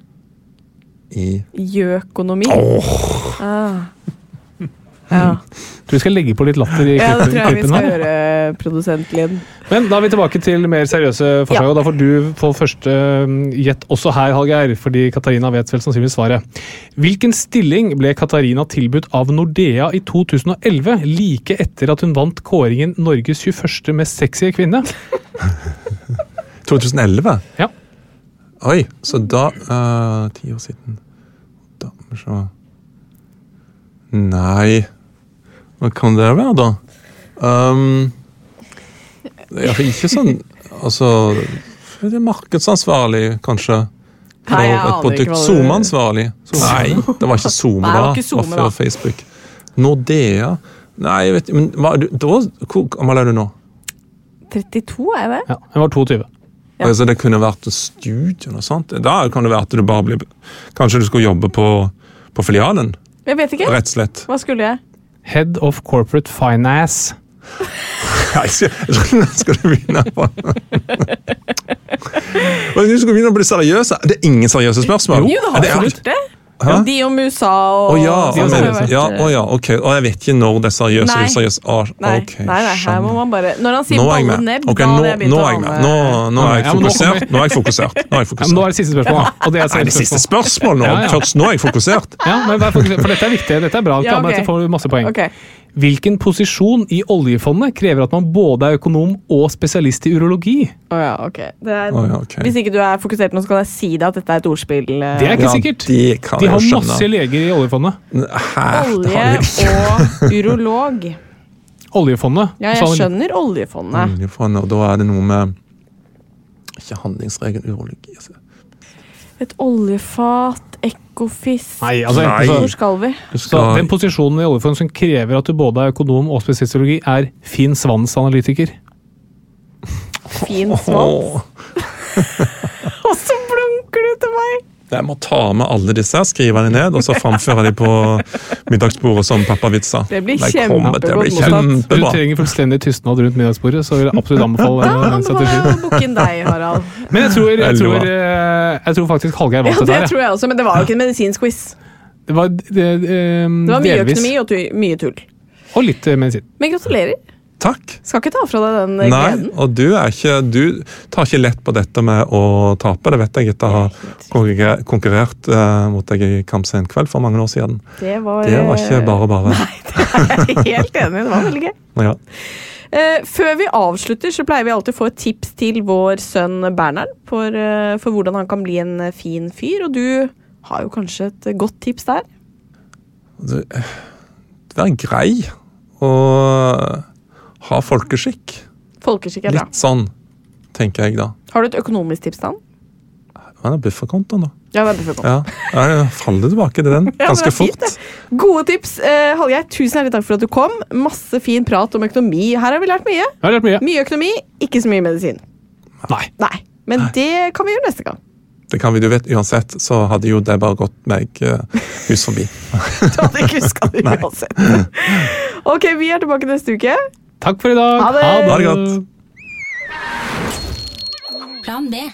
Speaker 5: I
Speaker 4: Gjøkonomi. Ah. Ja.
Speaker 3: Tror vi skal legge på litt latter i
Speaker 4: ja,
Speaker 3: klippen
Speaker 4: det tror jeg vi
Speaker 3: klippen her.
Speaker 4: skal gjøre, produsent Linn.
Speaker 3: Men da er vi tilbake til mer seriøse forslag, og da får du få første mm, gjett også her, Hallgeir, fordi Katarina vet vel sannsynligvis svaret. Hvilken stilling ble Katarina tilbudt av Nordea i 2011, like etter at hun vant kåringen Norges 21. mest sexy kvinne?
Speaker 5: 2011?
Speaker 3: Ja.
Speaker 5: Oi, så da eh, Ti år siden Da må vi se Nei Hva kan det være, da? Um, jeg fikk ikke sånn Altså det er Markedsansvarlig, kanskje?
Speaker 4: Nei, jeg
Speaker 5: For et
Speaker 4: aner
Speaker 5: produkt.
Speaker 4: ikke hva det-
Speaker 5: SoMe-ansvarlig? Nei, det var ikke SoMe,
Speaker 4: Nei, det
Speaker 5: da.
Speaker 4: var ikke
Speaker 5: Det var
Speaker 4: SoMe, da.
Speaker 5: før Facebook. Nordea Nei, jeg vet men hva, er du, da, Hvor gammel er du nå?
Speaker 4: 32, er jeg det?
Speaker 3: ja hun var 22.
Speaker 4: Ja.
Speaker 5: Altså, det kunne vært en studie noe sånt. Da kan det være at du bare blir Kanskje du skulle jobbe på, på filialen?
Speaker 4: Jeg vet ikke.
Speaker 5: Rett og slett. [laughs]
Speaker 4: Hva skulle jeg?
Speaker 3: Head of Corporate Finance.
Speaker 5: Nei, skal, skal du begynne på [laughs] Men Du skal begynne å bli seriøs. Det er ingen seriøse spørsmål.
Speaker 4: Jo, det har
Speaker 5: er-
Speaker 4: jeg gjort det.
Speaker 5: Hæ?
Speaker 4: De om USA og
Speaker 5: Å ja,
Speaker 3: De
Speaker 5: jeg
Speaker 3: har
Speaker 5: mener-
Speaker 3: seriøse.
Speaker 5: ja, å ja, ok. Og jeg vet ikke når det er seriøst og
Speaker 4: eh, Nei.
Speaker 5: useriøst. Ah,
Speaker 4: Nei,
Speaker 5: ok,
Speaker 4: nei, nei, her må
Speaker 5: skjønner.
Speaker 4: man bare Når han sier
Speaker 5: Nå er jeg
Speaker 4: balle
Speaker 5: med.
Speaker 4: nebb,
Speaker 5: Ok,
Speaker 4: da
Speaker 5: nå,
Speaker 4: hadde jeg begynt
Speaker 5: nå
Speaker 4: å
Speaker 5: er jeg med. Nå, nå er jeg
Speaker 3: Ja, men nå
Speaker 5: fokusert. Nå er jeg fokusert. Nå er jeg
Speaker 3: [laughs] Ja, men nå
Speaker 5: fokusert.
Speaker 3: er det siste spørsmål, da,
Speaker 4: [laughs]
Speaker 3: og det er
Speaker 5: Nei, det
Speaker 3: seriøse
Speaker 5: er siste
Speaker 3: spørsmål.
Speaker 5: spørsmål nå.
Speaker 3: Ja, ja.
Speaker 5: Først nå er jeg fokusert.
Speaker 3: Ja, men vær fokusert, for dette er viktig. Dette er bra.
Speaker 4: Ja,
Speaker 3: Kamera,
Speaker 4: ok.
Speaker 3: Dette får du masse poeng.
Speaker 4: Ok.
Speaker 3: Hvilken posisjon i oljefondet krever at man både er økonom og spesialist i urologi?
Speaker 4: Å ja, ok. Det er,
Speaker 5: Å ja, ok.
Speaker 4: Hvis ikke du er fokusert nå, så kan jeg si deg at dette er et ordspill. eh,
Speaker 3: Det er ikke
Speaker 5: Ja,
Speaker 3: sikkert.
Speaker 5: det kan
Speaker 3: de
Speaker 5: jeg
Speaker 3: har
Speaker 5: jo skjønne.
Speaker 3: masse leger i oljefondet.
Speaker 5: Hæ? Ah, Det har jeg ikke.
Speaker 4: Olje og urolog.
Speaker 3: Oljefondet. så
Speaker 4: Ja, jeg
Speaker 3: han-
Speaker 4: skjønner oljefondet.
Speaker 5: Oljefondet, og da er det noe med Ikke handlingsregel, urologi altså.
Speaker 4: Et oljefat, Ekofisk
Speaker 3: Nei, altså
Speaker 5: Nei.
Speaker 3: enten
Speaker 4: Hvor
Speaker 3: Så,
Speaker 4: skal vi?
Speaker 5: Du
Speaker 3: så
Speaker 5: skal
Speaker 3: Den posisjonen i oljefondet som krever at du både er økonom og spesialistologi, er fin svansanalytiker.
Speaker 4: Fin svans.
Speaker 5: Åh,
Speaker 4: Og så blunker du til meg!
Speaker 5: Jeg må ta med alle disse, her, skrive dem ned og så framføre dem på middagsbordet som pappavitser.
Speaker 4: Det blir
Speaker 5: Nei, kom, Det
Speaker 4: kjempegodt
Speaker 5: blir
Speaker 4: mottatt.
Speaker 3: Du
Speaker 5: kjempebra.
Speaker 3: trenger fullstendig tystnad rundt middagsbordet, så vil jeg absolutt
Speaker 4: [laughs]
Speaker 3: anbefale
Speaker 4: Da
Speaker 3: den
Speaker 4: anbefaler jeg
Speaker 3: strategien.
Speaker 4: å booke inn deg,
Speaker 5: [laughs]
Speaker 4: Harald.
Speaker 3: Men jeg tror, jeg
Speaker 5: Veldig
Speaker 3: tror,
Speaker 5: bra.
Speaker 3: eh, jeg tror faktisk Hallgeir
Speaker 4: Ja,
Speaker 3: vant
Speaker 4: det
Speaker 3: dette. her,
Speaker 4: tror jeg også, men det var jo ikke en medisinsk quiz.
Speaker 3: jeg. Det var, det, eh,
Speaker 4: Det var mye
Speaker 3: delvis.
Speaker 4: økonomi og tu mye tull.
Speaker 3: Og litt eh, medisin.
Speaker 4: Men gratulerer.
Speaker 5: Takk.
Speaker 4: Skal ikke ta fra deg den eh, gleden.
Speaker 5: Nei, og du, er ikke, du tar ikke lett på dette med å tape. Det vet jeg etter å ha konkurrer- konkurrert eh, mot deg i Kamp sen kveld for mange år siden.
Speaker 4: Det var,
Speaker 5: Det var ikke
Speaker 4: eh,
Speaker 5: bare bare.
Speaker 4: [laughs] Nei, det er jeg helt enig i. Det var veldig gøy.
Speaker 5: Ja.
Speaker 4: Eh, før vi avslutter, så pleier vi alltid å få et tips til vår sønn Bernhard for, eh, for hvordan han kan bli en eh, fin fyr. Og du har jo kanskje et eh, godt tips der?
Speaker 5: Det- Vær grei og ha folkeskikk.
Speaker 4: Folkeskikk er bra.
Speaker 5: Litt sånn, tenker jeg da.
Speaker 4: Har du et økonomisk tips til han?
Speaker 5: Hva er bufferkontoen, da?
Speaker 4: Ja, det er bra.
Speaker 5: Ja, ja, Faller tilbake til
Speaker 4: [laughs] Ja, men
Speaker 5: den
Speaker 4: det
Speaker 5: ganske
Speaker 4: er fint,
Speaker 5: fort.
Speaker 4: det. Gode tips. Eh, Hallgeir, tusen hjertelig takk for at du kom. Masse fin prat om økonomi. Her har vi lært mye.
Speaker 3: Jeg har lært mye.
Speaker 4: Mye økonomi, ikke så mye medisin.
Speaker 3: Nei.
Speaker 4: Nei, men det kan vi gjøre neste gang. [laughs]
Speaker 5: Det kan vi, du vet, Uansett så hadde jo det bare gått meg eh, hus forbi.
Speaker 4: Du hadde ikke huska det uansett. Ok, vi er tilbake neste uke.
Speaker 3: Takk for i dag.
Speaker 4: Ha det.
Speaker 5: Ha det godt.
Speaker 2: Plan B.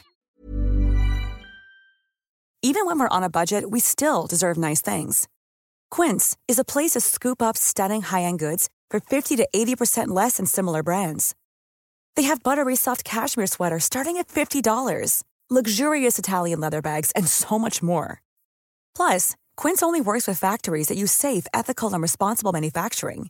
Speaker 6: Even when we're on a budget, we still deserve nice things. Quince is a place to scoop up stunning high end goods for 50 to 80% less than similar brands. They have buttery soft cashmere sweaters starting at $50, luxurious Italian leather bags, and so much more. Plus, Quince only works with factories that use safe, ethical, and responsible manufacturing.